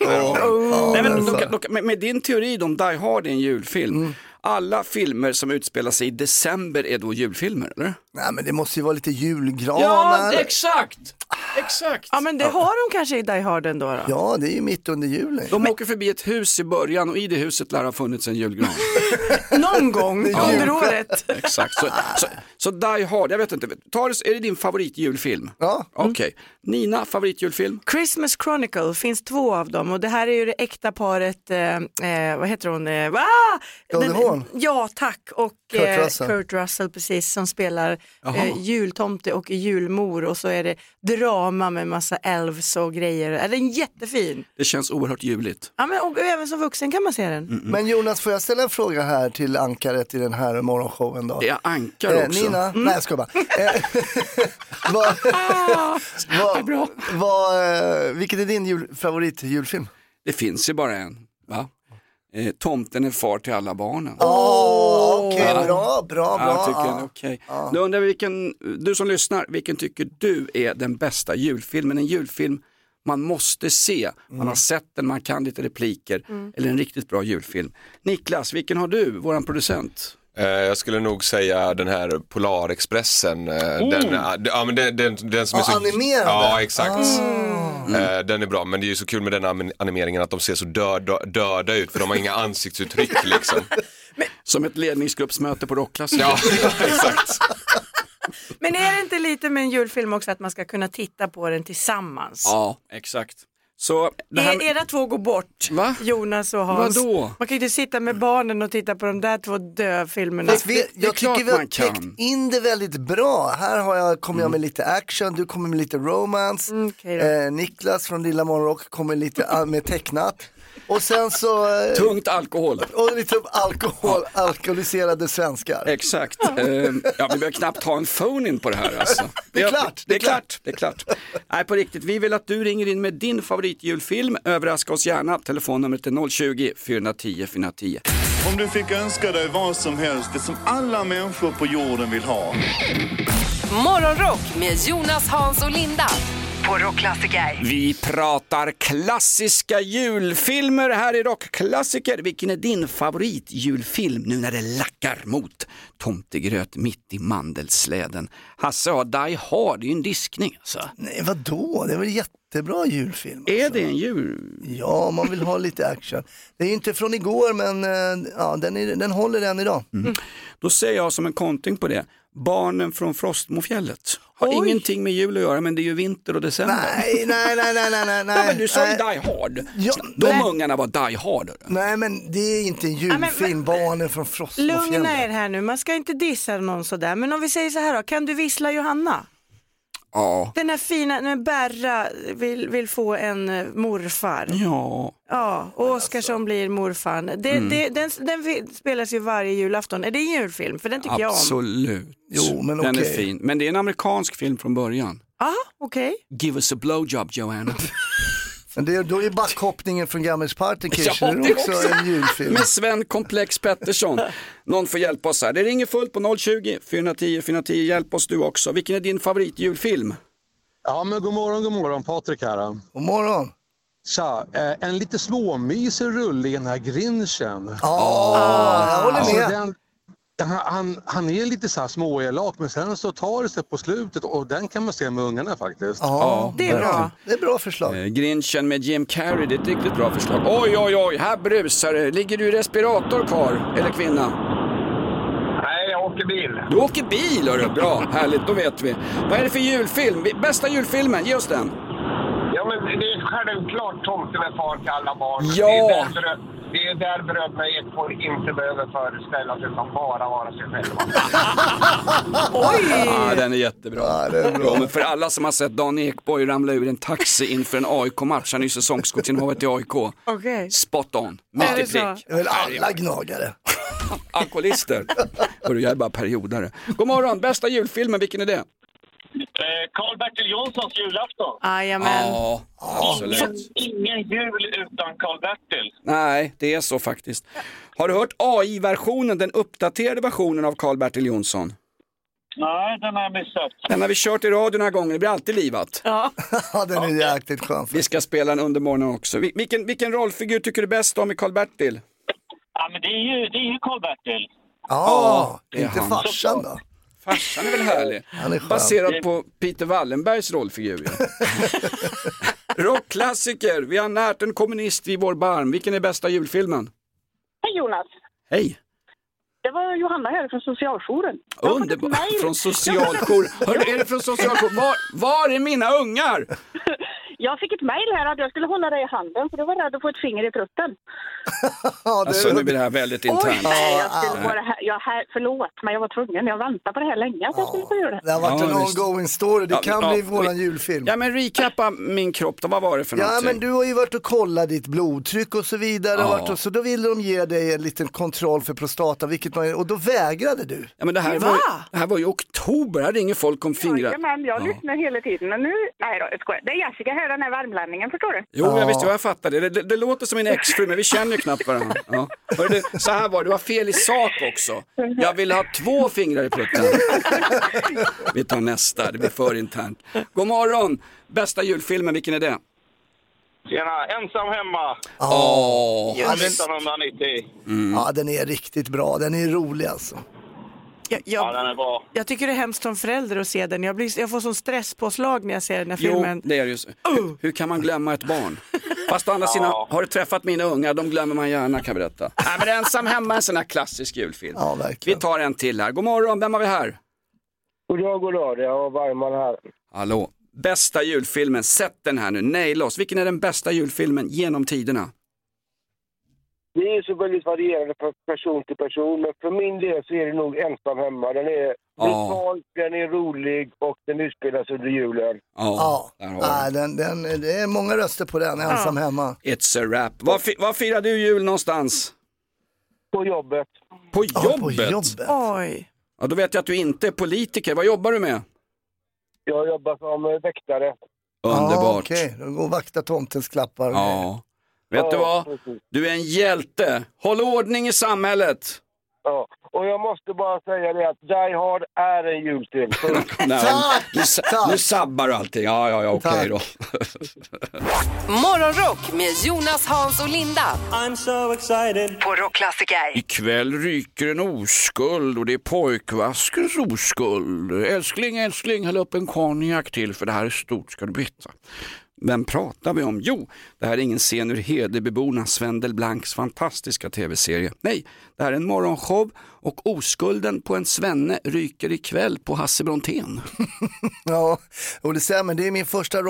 Speaker 4: Oh.
Speaker 3: Nej, men,
Speaker 4: Alltså.
Speaker 3: då, kan- då, kan- med, med din teori om Die Hard är en julfilm,
Speaker 4: Mm.
Speaker 3: alla filmer som utspelar sig i december är då julfilmer eller?
Speaker 4: Nej men det måste ju vara lite julgranar.
Speaker 3: Ja, det- exakt! Exakt.
Speaker 5: Ja men det har de kanske i Die Hard ändå då?
Speaker 4: Ja, det är ju mitt under julen.
Speaker 3: De åker förbi ett hus i början och i det huset lär ha funnits en julgran.
Speaker 4: (laughs)
Speaker 5: Någon gång
Speaker 3: Ja.
Speaker 5: under året.
Speaker 3: Exakt, så, så, så Die Hard, jag vet inte, tar, det- är det din favoritjulfilm?
Speaker 4: Ja.
Speaker 3: Okej, Nina, favoritjulfilm?
Speaker 5: Christmas Chronicle finns två av dem och det här är ju det äkta paret, eh, eh, vad heter hon? Eh, ah!
Speaker 4: Goldie
Speaker 5: Den-
Speaker 4: Hawn?
Speaker 5: Ja tack och
Speaker 4: Kurt
Speaker 5: eh,
Speaker 4: Russell.
Speaker 5: Kurt Russell precis som spelar
Speaker 4: Jaha.
Speaker 5: eh, jultomte och julmor och så är det drama med massa elves och grejer. Är den är jättefin?
Speaker 3: Det känns oerhört juligt.
Speaker 5: Ja men och, även som vuxen kan man se den.
Speaker 3: Mm.
Speaker 4: Men Jonas, får jag ställa en fråga här till ankaret i den här morgonshowen då?
Speaker 3: Det är ankare
Speaker 4: Eh,
Speaker 3: också. Mm.
Speaker 4: Nina, nej jag skojar bara. Eh, (laughs) vad, vad, vad, eh, vilket är din jul, favoritjulfilm?
Speaker 3: Det finns ju bara en, va? Eh, tomten är far till alla barnen.
Speaker 4: Åh, okej,
Speaker 3: Ja.
Speaker 4: bra, bra,
Speaker 3: Ja, jag
Speaker 4: bra.
Speaker 3: tycker
Speaker 4: Ja.
Speaker 3: den är okej. Då undrar vi vilken, du som lyssnar, vilken tycker du är den bästa julfilmen? En julfilm man måste se, man
Speaker 4: Mm.
Speaker 3: har sett den, man kan lite repliker eller en riktigt bra julfilm. Niklas, vilken har du, våran producent?
Speaker 7: Eh, Jag skulle nog säga den här Polarexpressen. eh, Den, eh, d- ja, men den, den, den som är
Speaker 4: Ja,
Speaker 7: så...
Speaker 4: animerade.
Speaker 7: Ja, exakt. Eh, Den är bra, men det är ju så kul med den anim- animeringen att de ser så döda, döda ut för de har inga ansiktsuttryck liksom.
Speaker 3: Som ett ledningsgruppsmöte på rockklassiker.
Speaker 7: Ja, (laughs) exakt.
Speaker 5: Men är det inte lite med en julfilm också att man ska kunna titta på den tillsammans?
Speaker 3: Ja, exakt. Så det här
Speaker 5: E- era två går bort, Jonas och Hans.
Speaker 3: Vadå?
Speaker 5: Man kan ju inte sitta med barnen och titta på de där två döfilmerna.
Speaker 4: Fast vi, jag tycker vi har täckt in det väldigt bra. Här har jag, kommer
Speaker 3: Mm.
Speaker 4: jag med lite action, du kommer med lite romance. eh, Niklas från Lilla Morgonrock kommer lite an- med tecknat. Och sen så... Eh,
Speaker 3: Tungt alkohol.
Speaker 4: Och lite alkohol, alkoholiserade svenskar.
Speaker 3: Exakt. Ehm, ja, vi behöver knappt ha en phone-in på det här alltså.
Speaker 4: Det är klart,
Speaker 3: Det är klart. Det är klart. Nej, på riktigt. Vi vill att du ringer in med din favoritjulfilm. Överraska oss gärna. Telefonnumret är 020-410 410.
Speaker 8: Om du fick önska dig vad som helst, det som alla människor på jorden vill ha.
Speaker 1: Morgonrock med Jonas, Hans och Linda på Rockklassiker.
Speaker 3: Vi pratar klassiska julfilmer här i Rockklassiker. Vilken är din favoritjulfilm nu när det lackar mot tomtegröt mitt i mandelsläden? Hasse har Die Hard, det är ju en diskning alltså.
Speaker 4: Nej, vadå? Det var en jättebra julfilm. alltså.
Speaker 3: Är det en jul?
Speaker 4: Ja, man vill ha lite action. Det är ju inte från igår, men eh, ja, den, är, den håller än idag.
Speaker 3: Mm. Då säger jag som en konting på det, Barnen från Frostmofjället. Har ingenting med jul att göra men det är ju vinter och december.
Speaker 4: Nej, nej, nej, nej, nej, nej.
Speaker 3: Ja, men du sa ju
Speaker 4: nej.
Speaker 3: Die Hard.
Speaker 4: Ja,
Speaker 3: De
Speaker 4: nej.
Speaker 3: ungarna var Die Hard.
Speaker 4: Nej, men det är inte en julfilm, Barnen från Frostmofjället.
Speaker 5: Lugna er här nu, man ska inte dissa någon sådär. Men om vi säger så här då, kan du vissla Johanna?
Speaker 3: Ja.
Speaker 5: Den här fina, när Berra vill, vill få en eh, morfar.
Speaker 3: Ja.
Speaker 5: Ja, och Oscarsson blir morfar. Det,
Speaker 3: Mm.
Speaker 5: det, den, den fi- spelas ju varje julafton. Är det en julfilm? För den tycker jag om.
Speaker 3: Absolut.
Speaker 4: Jo, men
Speaker 3: Den
Speaker 4: okej.
Speaker 3: är fin. Men det är en amerikansk film från början.
Speaker 5: Ja, okej.
Speaker 3: Give us a blowjob
Speaker 4: (laughs)
Speaker 3: Joanna. (laughs)
Speaker 4: Men det är, då är backhoppningen från Gammelpartenkirchen
Speaker 3: Ja,
Speaker 4: det
Speaker 3: det
Speaker 4: är också
Speaker 3: också.
Speaker 4: en julfilm.
Speaker 3: Med Sven Komplex Pettersson. Någon får hjälpa oss här. Det ringer fullt på 020-410 410. Hjälp oss du också. Vilken är din favoritjulfilm?
Speaker 15: Ja, men god morgon, god morgon. Patrik här.
Speaker 4: God morgon.
Speaker 15: Tja, eh, en lite småmysig rulle i den här grinchen.
Speaker 3: Ah.
Speaker 4: Ja, jag håller med.
Speaker 15: den, den- han, han är lite så här småelak, men sen så tar det sig på slutet och den kan man se med ungarna faktiskt.
Speaker 3: Ja, Det är bra. bra.
Speaker 4: Det är bra förslag.
Speaker 3: Eh, Grinchen med Jim Carrey, det är ett riktigt bra förslag. Oj, oj, oj, här brusar det. Ligger du i respirator kar eller kvinna?
Speaker 16: Nej, jag åker bil.
Speaker 3: Du åker bil, hörru. Bra, härligt, då vet vi. Vad är det för julfilm? Vi- Bästa julfilmen, ge oss den.
Speaker 16: Ja, men det är självklart tomten är far till alla barn.
Speaker 3: Ja.
Speaker 16: Det är där, brö- det är där bröderna Ekborg inte behöver föreställa sig utan bara vara sig själva.
Speaker 3: Ja, Ah, den är jättebra. Ja, men för alla som har sett Dan Ekborg ramla ur en taxi inför en AIK-match, han är ju säsongskortsinnehavare i AIK.
Speaker 5: Okej.
Speaker 3: Spot on, mitt i prick.
Speaker 4: Det är väl alla gnagare. (laughs)
Speaker 3: Alkoholister. Hörru, jag är bara periodare. God morgon, bästa julfilmen, vilken är det?
Speaker 17: Eh, Karl-Bertil Jonssons julafton.
Speaker 5: Jajamän.
Speaker 3: Ja, absolut.
Speaker 17: Ingen jul utan Karl-Bertil.
Speaker 3: Nej, det är så faktiskt. Har du hört AI-versionen, den uppdaterade versionen av Karl-Bertil Jonsson?
Speaker 17: Nej, den har jag missat.
Speaker 3: Den har vi kört i radio några gånger, det blir alltid livat.
Speaker 5: Ja.
Speaker 4: den är jäkligt skön.
Speaker 3: Vi ska spela den under morgonen också. Vi- Vilken, vilken rollfigur tycker du bäst om i Karl-Bertil?
Speaker 17: Ja, men det är ju, det är ju Karl-Bertil.
Speaker 4: Ja,
Speaker 3: det är
Speaker 4: inte
Speaker 3: han.
Speaker 4: farsan då?
Speaker 3: Farsan är väl härlig?
Speaker 4: (laughs) Han är skön.
Speaker 3: Baserat på Peter Wallenbergs rollfigur. ja. (laughs) Rockklassiker, vi har närt en kommunist i vår barm. Vilken är bästa julfilmen?
Speaker 18: Hej Jonas!
Speaker 3: Hej!
Speaker 18: Det var Johanna här från socialjouren.
Speaker 3: Underbart! Från socialjour. Hörru, är det från socialjour? Var, var är mina ungar?
Speaker 18: Jag fick ett mejl här att jag skulle hålla dig i handen för du var rädd att få ett finger i prutten.
Speaker 3: Alltså nu blir det här väldigt internt.
Speaker 18: Nej, jag skulle bara... Här, jag här, förlåt, men jag var tvungen. Jag väntade på det här länge att jag skulle få göra det.
Speaker 4: Det har varit
Speaker 3: Ja,
Speaker 4: en
Speaker 3: visst.
Speaker 4: ongoing story, det
Speaker 3: Ja,
Speaker 4: kan
Speaker 3: ja,
Speaker 4: bli
Speaker 3: vi-
Speaker 4: våran julfilm.
Speaker 3: Ja men recappa min kropp då, vad var det för
Speaker 4: Ja
Speaker 3: någonting?
Speaker 4: men du har ju varit och kollat ditt blodtryck och så vidare,
Speaker 3: Ja.
Speaker 4: och varit och, så då ville de ge dig en liten kontroll för prostata, vilket man, och då vägrade du.
Speaker 3: Ja, men det, här
Speaker 4: Va?
Speaker 3: var, det här var ju oktober, här ringer folk om fingrar.
Speaker 18: Jajamän, jag lyssnar hela tiden. Men nu... Nej då, jag skojar. Det är Jessica här, den här värmlänningen, förstår du.
Speaker 3: Jo, jag visste, jag fattar det. Det, det. det låter som min exfru, men vi känner ju knappt varandra. Ja. Hörru, du, så här var det, du har fel i sak också. Jag vill ha två fingrar i prutten. Vi tar nästa, det blir för internt. God morgon! Bästa julfilmen, vilken är det?
Speaker 17: Tjena, ensam hemma.
Speaker 3: Åh.
Speaker 17: Jul 1990.
Speaker 3: Mm.
Speaker 4: Ja den är riktigt bra, den är rolig alltså.
Speaker 5: Jag,
Speaker 17: Ja,
Speaker 5: jag,
Speaker 17: den är bra.
Speaker 5: jag tycker det är hemskt som förälder att se den. Jag, blir, jag får sån stresspåslag när jag ser den här
Speaker 3: Jo,
Speaker 5: filmen.
Speaker 3: det är det ju. Hur, hur kan man glömma ett barn? Fast å andra sidan, har du träffat mina ungar, de glömmer man gärna kan jag berätta. Nej, men ensam hemma är en sån här klassisk julfilm. vi tar en till här. God morgon, vem har vi här?
Speaker 17: Goddag, goddag. Det är Bergman här.
Speaker 3: Hallå. Bästa julfilmen, sätt den här nu, naila oss. Vilken är den bästa julfilmen genom tiderna?
Speaker 17: Det är så väldigt varierande från person till person, men för min del så är det nog ensam hemma. Den är
Speaker 3: Ja.
Speaker 17: brutal, den är rolig och den utspelas under julen.
Speaker 4: Ja,
Speaker 3: där
Speaker 4: ja.
Speaker 3: har vi
Speaker 4: den, den, det är många röster på den, ensam hemma.
Speaker 3: It's a wrap. Var, fi- var firar du jul någonstans?
Speaker 17: På jobbet.
Speaker 3: På jobbet?
Speaker 4: på jobbet.
Speaker 5: Oj.
Speaker 3: Ja, då vet jag att du inte är politiker. Vad jobbar du med?
Speaker 17: Jag jobbar som eh, väktare.
Speaker 4: Ja,
Speaker 3: Ah, Underbart.
Speaker 4: Ah, Okej, då går och vaktar tomtens klappar. (laughs)
Speaker 3: Ja. Vet du vad? Du är en hjälte. Håll ordning i samhället.
Speaker 17: Ja. Och jag måste bara säga det att Die Hard är en julfilm. Punkt.
Speaker 3: Nej, nu, sa- nu sabbar du allting. Ja, ja, ja, okej då.
Speaker 1: Morgonrock med Jonas, Hans och Linda. I'm so excited. På Rockklassiker.
Speaker 3: Ikväll ryker en oskuld och det är pojkvaskens oskuld. Älskling, älskling, häll upp en konjak till för det här är stort ska du veta. Vem pratar vi om? Jo, det här är ingen scen ur Hedebyborna Sven Delblancs fantastiska tv-serie. Nej, det här är en morgonshow och oskulden på en svenne ryker ikväll på Hasse Brontén.
Speaker 4: Ja, och det stämmer. Det är min första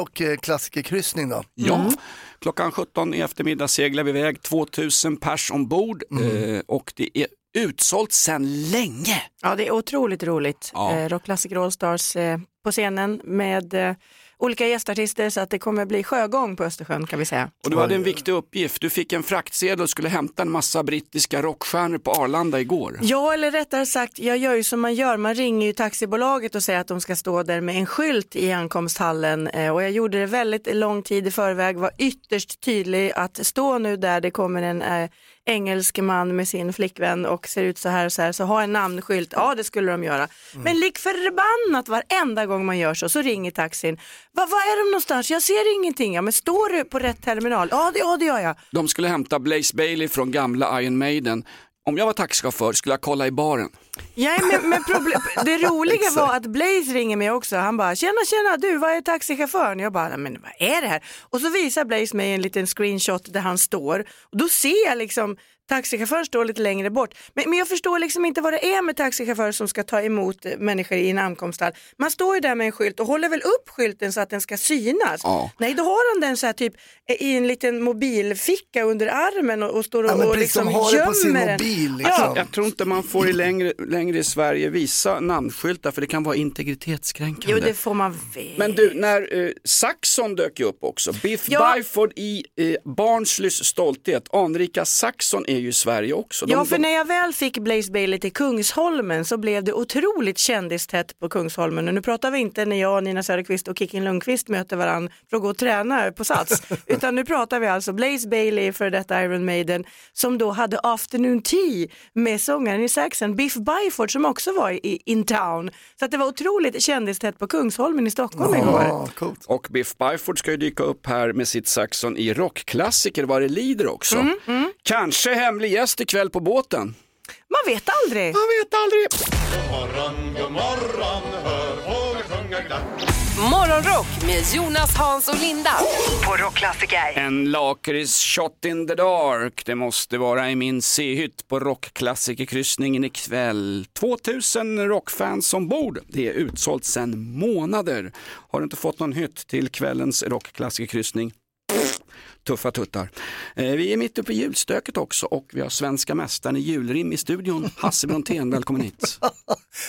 Speaker 4: rockklassikerkryssning då.
Speaker 3: Ja, klockan 17 i eftermiddag seglar vi iväg 2000 pers ombord eh, och det är utsålt sedan länge.
Speaker 5: Ja, det är otroligt roligt.
Speaker 3: Ja.
Speaker 5: Eh, Rockklassiker Allstars eh, på scenen med eh, olika gästartister så att det kommer bli sjögång på Östersjön kan vi säga.
Speaker 3: Och du hade en viktig uppgift, du fick en fraktsedel och skulle hämta en massa brittiska rockstjärnor på Arlanda igår.
Speaker 5: Ja, eller rättare sagt, jag gör ju som man gör. Man ringer ju taxibolaget och säger att de ska stå där med en skylt i ankomsthallen. Eh, Och jag gjorde det väldigt lång tid i förväg, var ytterst tydlig att stå nu där det kommer en eh, engelsk man med sin flickvän och ser ut så här och så här, så ha en namnskylt. Ja, det skulle de göra. Men lik förbannat varenda gång man gör så, så ringer taxin. Va, var är de någonstans? Jag ser ingenting. Ja, men står du på rätt terminal? Ja, det, ja, det gör jag.
Speaker 3: De skulle hämta Blaze Bailey från gamla Iron Maiden. Om jag var taxichaufför skulle jag kolla i baren.
Speaker 5: Ja, men,
Speaker 4: (laughs)
Speaker 5: men problem, det roliga var att Blaze ringer mig också. Han bara, tjena tjena du, vad är taxichauffören? Jag bara, "Nej, men vad är det här? Och så visar Blaze mig en liten screenshot där han står. Och då ser jag liksom taxichauffören står lite längre bort. Men, men jag förstår liksom inte vad det är med taxichaufförer som ska ta emot eh, människor i en ankomsthall. Man står ju där med en skylt och håller väl upp skylten så att den ska synas.
Speaker 3: Ja.
Speaker 5: Nej, då har han den så här typ eh, i en liten mobilficka under armen och, och står och,
Speaker 4: Ja, men
Speaker 5: och
Speaker 4: precis,
Speaker 5: liksom
Speaker 4: de har det
Speaker 5: gömmer
Speaker 4: på sin
Speaker 5: den.
Speaker 4: mobil, liksom.
Speaker 5: Ja,
Speaker 3: Jag, jag tror inte man får i längre, längre i Sverige visa namnskyltar för det kan vara integritetskränkande.
Speaker 5: Jo, det får man veta.
Speaker 3: Men du, när eh, Saxon dök ju upp också, Biff
Speaker 5: Ja.
Speaker 3: Byford i eh, Barnslys stolthet, anrika Saxon är ju i Sverige också. De-
Speaker 5: Ja, för
Speaker 3: de-
Speaker 5: när jag väl fick Blaze Bailey till Kungsholmen så blev det otroligt kändistätt på Kungsholmen. Och nu pratar vi inte när jag, Nina Söderqvist och Kicken Lundqvist möter varandra för att gå och träna på Sats. Utan nu pratar vi alltså Blaze Bailey, för detta Iron Maiden, som då hade afternoon tea med sångaren i saxen Biff Byford som också var i, in town. Så att det var otroligt kändistätt på Kungsholmen i Stockholm
Speaker 4: Ah,
Speaker 5: igår.
Speaker 3: Och Biff Byford ska ju dyka upp här med sitt Saxon i rockklassiker vad det lider också. Kanske hemlig gäst ikväll på båten.
Speaker 5: Man vet aldrig.
Speaker 3: Man vet aldrig.
Speaker 1: Morgonrock med Jonas, Hans och Linda. På Rockklassiker.
Speaker 3: En lakrits shot in the dark. Det måste vara i min C-hytt på rockklassikerkryssningen ikväll. 2000 rockfans ombord. Det är utsålt sedan månader. Har du inte fått någon hytt till kvällens rockklassikerkryssning? Pff, Tuffa tuttar. Eh, Vi är mitt uppe i julstöket också och vi har svenska mästaren i julrim i studion. Hasse Brontén, välkommen hit.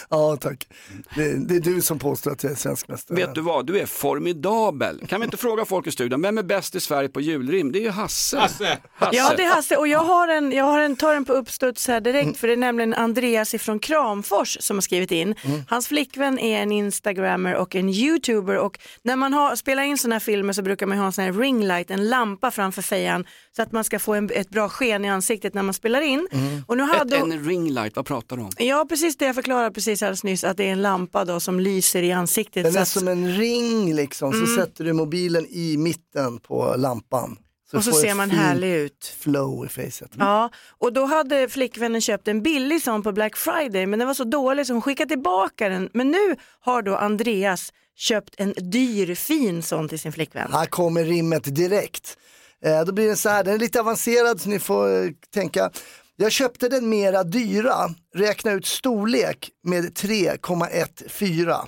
Speaker 4: Ja, tack. Det, det är du som påstår att jag är svensk mästare.
Speaker 3: Vet du vad, du är formidabel. Kan vi inte fråga folk i studion, vem är bäst i Sverige på julrim? Det är ju Hasse. Hasse.
Speaker 5: Ja, det är Hasse. Och jag har en, jag har en, tar den på uppstuds här direkt, för det är nämligen Andreas ifrån Kramfors som har skrivit in. Hans flickvän är en instagrammer och en youtuber och när man har, spelar in sådana här filmer så brukar man ha en sån här ringlight, en lampa framför fejan så att man ska få en, ett bra sken i ansiktet när man spelar in. Och nu hade
Speaker 3: Ett,
Speaker 5: hon-
Speaker 3: en ringlight, vad pratar du om?
Speaker 5: Ja, precis det jag förklarade precis alldeles nyss, att det är en lampa då som lyser i ansiktet.
Speaker 4: Den
Speaker 5: så
Speaker 4: är
Speaker 5: att-
Speaker 4: som en ring liksom, så
Speaker 5: Mm.
Speaker 4: sätter du mobilen i mitten på lampan.
Speaker 5: Och så
Speaker 4: får
Speaker 5: ser
Speaker 4: ett
Speaker 5: man
Speaker 4: fint
Speaker 5: härlig ut.
Speaker 4: flow i facet.
Speaker 5: Ja, och då hade flickvännen köpt en billig sån på Black Friday, men den var så dålig så hon skickade tillbaka den. Men nu har då Andreas köpt en dyr fin sån till sin flickvän.
Speaker 4: Här kommer rimmet direkt. Eh, då blir den så här, den är lite avancerad så ni får eh, tänka. Jag köpte den mera dyra, räkna ut storlek med 3,14.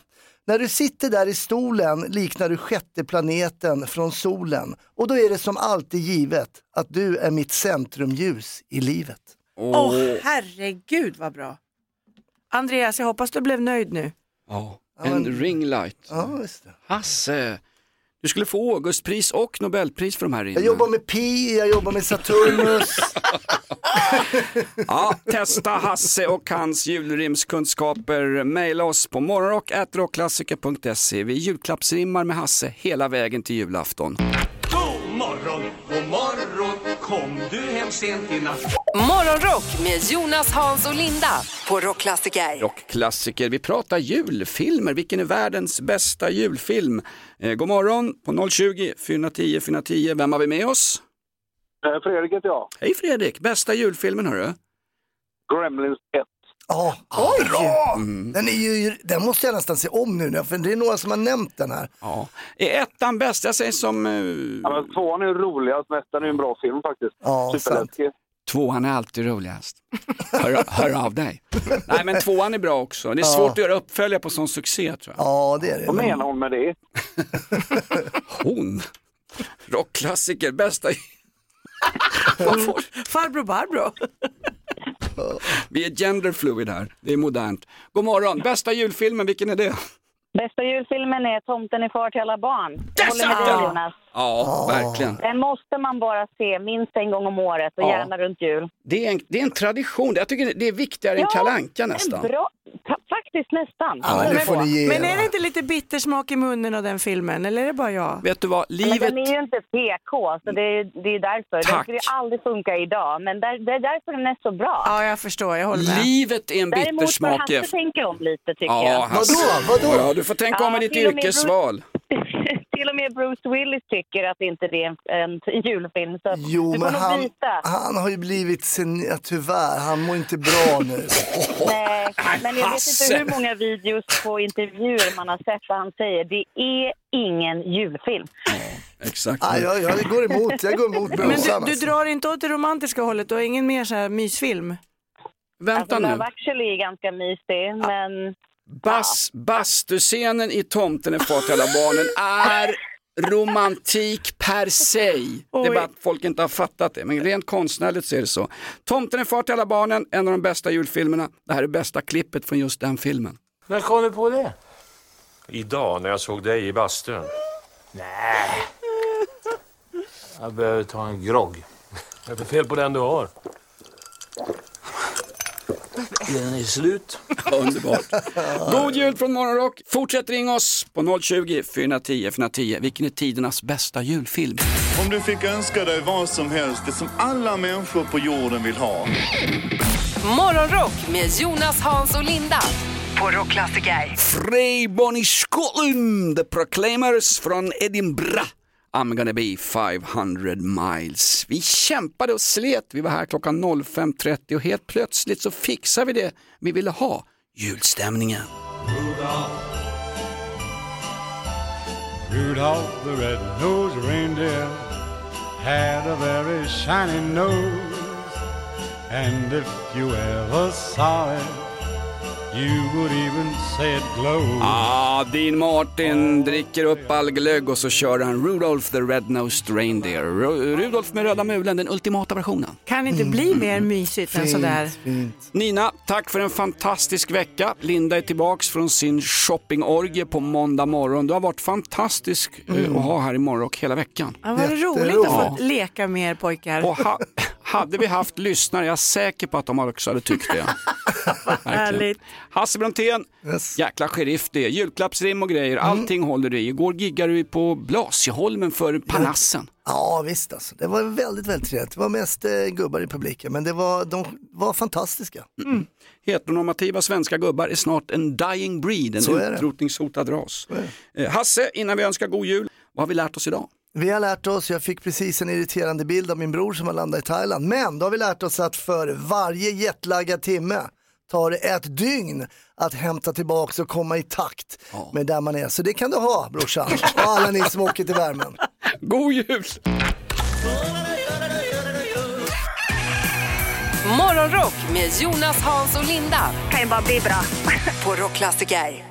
Speaker 4: När du sitter där i stolen liknar du sjätte planeten från solen och då är det som alltid givet att du är mitt centrumljus i livet.
Speaker 5: Åh herregud vad bra. Andreas, jag hoppas du blev nöjd nu.
Speaker 3: Ja, en ringlight. Hasse, du skulle få Augustpris och Nobelpris för de här rimmen.
Speaker 4: Jag jobbar med Pi, jag jobbar med Saturnus.
Speaker 3: Ja, testa Hasse och hans julrimskunskaper. Maila oss på morgonrock.rockklassiker.se. Vi julklappsrimmar med Hasse hela vägen till julafton.
Speaker 6: God morgon, god morgon, Kom du hem sent i natt?
Speaker 1: Morgonrock med Jonas, Hans och Linda på Rockklassiker.
Speaker 3: Rockklassiker. Vi pratar julfilmer. Vilken är världens bästa julfilm? Eh, god morgon på 020 410 410. Vem har vi med oss?
Speaker 16: Eh, Fredrik heter jag.
Speaker 3: Hej Fredrik, bästa julfilmen hörru.
Speaker 16: Gremlins 1.
Speaker 4: Ja, bra! Den, är ju, den måste jag nästan se om nu, för det är några som har nämnt den här.
Speaker 3: Ja. Är ettan bäst? Jag säger som... eh,
Speaker 16: Ja, men tvåan är ju roligast, men ettan är ju en bra film faktiskt.
Speaker 3: Ja,
Speaker 5: Typ,
Speaker 16: Superläskig.
Speaker 3: Tvåan är alltid roligast. Hör, hör av dig. Nej men tvåan är bra också. Det är svårt att göra uppföljare på sån succé tror jag.
Speaker 4: Ja, det är det.
Speaker 16: Vad menar hon med det?
Speaker 3: Hon! Rockklassiker, bästa...
Speaker 5: Farbror Barbro.
Speaker 3: Vi är genderfluid här, det är modernt. God morgon, bästa julfilmen, vilken är det?
Speaker 19: Bästa julfilmen är Tomten är far till alla barn. Jag håller med dig, Jonas.
Speaker 3: Ja, verkligen.
Speaker 19: Den måste man bara se minst en gång om året och
Speaker 3: Ja.
Speaker 19: gärna runt jul.
Speaker 3: Det är, en, det är en tradition, jag tycker det är viktigare än kalanka nästan.
Speaker 19: en Bra, ta- faktiskt nästan.
Speaker 3: Ja, det får ni ge
Speaker 5: men
Speaker 3: er,
Speaker 5: är det inte lite bittersmak i munnen av den filmen eller är det bara jag?
Speaker 3: Vet du vad,
Speaker 19: Men den är ju inte PK, så det är, det är därför. Den
Speaker 5: Tack.
Speaker 19: skulle ju aldrig funka idag, men där, det är därför den är så bra.
Speaker 5: Ja, jag förstår. Jag håller med.
Speaker 3: Livet är en bittersmak
Speaker 19: Däremot får Hasse
Speaker 3: efter-
Speaker 19: tänka om lite, tycker
Speaker 3: Ja,
Speaker 19: jag.
Speaker 3: Hasse. Ja, du får tänka om
Speaker 19: Ja,
Speaker 3: med ditt
Speaker 19: till och med
Speaker 3: yrkesval.
Speaker 19: Bruce- (laughs) till och med Bruce Willis tycker att inte det är en, en (laughs) julfilm, så
Speaker 4: Jo,
Speaker 19: du får
Speaker 4: men
Speaker 19: nog
Speaker 4: han,
Speaker 19: byta.
Speaker 4: han har ju blivit sin, ja, tyvärr, han mår inte bra nu.
Speaker 20: (laughs)
Speaker 19: Nej, men jag vet
Speaker 4: Hasse!
Speaker 19: inte hur många videos på intervjuer man har sett där han säger det är ingen julfilm.
Speaker 3: Exakt.
Speaker 4: Ah, jag, jag går emot, jag går emot
Speaker 5: Men
Speaker 4: brorsan.
Speaker 5: du, du
Speaker 4: alltså.
Speaker 5: drar inte åt det romantiska hållet och ingen mer så här mysfilm?
Speaker 3: Vänta
Speaker 19: Alltså, Love actually är ganska mysig, men
Speaker 3: Bas, bastuscenen i Tomten är far till alla barnen är romantik per se. Det är bara att folk inte har fattat det, men rent konstnärligt så är det så. Tomten är far till alla barnen, en av de bästa julfilmerna. Det här är bästa klippet från just den filmen.
Speaker 20: När kom du på det?
Speaker 21: Idag när jag såg dig i bastun.
Speaker 20: Nej. Jag behöver ta en grogg. Vad är det för fel på den du har? Den är slut.
Speaker 19: (laughs)
Speaker 3: Underbart. God jul från Morgonrock. Fortsätt ringa oss på 020-410 410. Vilken är tidernas bästa julfilm?
Speaker 8: Om du fick önska dig vad som helst, det som alla människor på jorden vill ha.
Speaker 1: Morgonrock med Jonas, Hans och Linda på Rockklassiker.
Speaker 3: Freibon i Skottland, The Proclaimers från Edinburgh. I'm gonna be 500 miles. Vi kämpade och slet, vi var här klockan 05.30 och helt plötsligt så fixade vi det vi ville ha, julstämningen.
Speaker 22: Rudolph the red-nosed reindeer had a very shiny nose. And if you ever saw it, you would even say it glowed.
Speaker 3: Ah, Dean Martin dricker upp all glögg och så kör han Rudolph the Red-Nosed Reindeer. Ru- Rudolph med röda mulen, den ultimata versionen.
Speaker 5: Kan inte bli mer mysigt än sådär?
Speaker 3: Nina, tack för en fantastisk vecka. Linda är tillbaks från sin shoppingorgie på måndag morgon. Du har varit fantastisk eh,
Speaker 5: Mm.
Speaker 3: att ha här i Morgonrock hela veckan.
Speaker 5: Ja, var det roligt att få leka med er pojkar?
Speaker 3: Och ha, (laughs) hade vi haft lyssnare, jag är säker på att de också hade tyckt
Speaker 4: (laughs)
Speaker 3: det. Verkligen.
Speaker 5: Härligt.
Speaker 3: Hasse Brontén, jäkla sheriff det är. Julklappsrim och grejer,
Speaker 4: Mm.
Speaker 3: allting håller du i. Igår giggade du på Blasieholmen för Parnassen.
Speaker 4: Ja visst alltså, det var väldigt, väldigt trevligt. Det var mest eh, gubbar i publiken, men det var, de var fantastiska.
Speaker 3: Heteronormativa svenska gubbar är snart en dying breed,
Speaker 4: Så
Speaker 3: en
Speaker 4: är det.
Speaker 3: utrotningshotad ras. Eh, Hasse, innan vi önskar god jul, vad har vi lärt oss idag?
Speaker 4: Vi har lärt oss, jag fick precis en irriterande bild av min bror som har landat i Thailand, men då har vi lärt oss att för varje jetlaggad timme tar det ett dygn att hämta tillbaka och komma i takt med där man är. Så det kan du ha brorsan, och alla ni som åker till värmen.
Speaker 3: God jul!
Speaker 1: Morgonrock med Jonas, Hans och Linda. Kan ju bara bli bra. på Rockklassiker.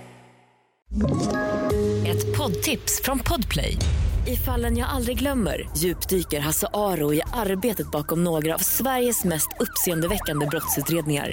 Speaker 14: Ett poddtips från Podplay. I fallen jag aldrig glömmer djupdyker Hasse Aro i arbetet bakom några av Sveriges mest uppseendeväckande brottsutredningar.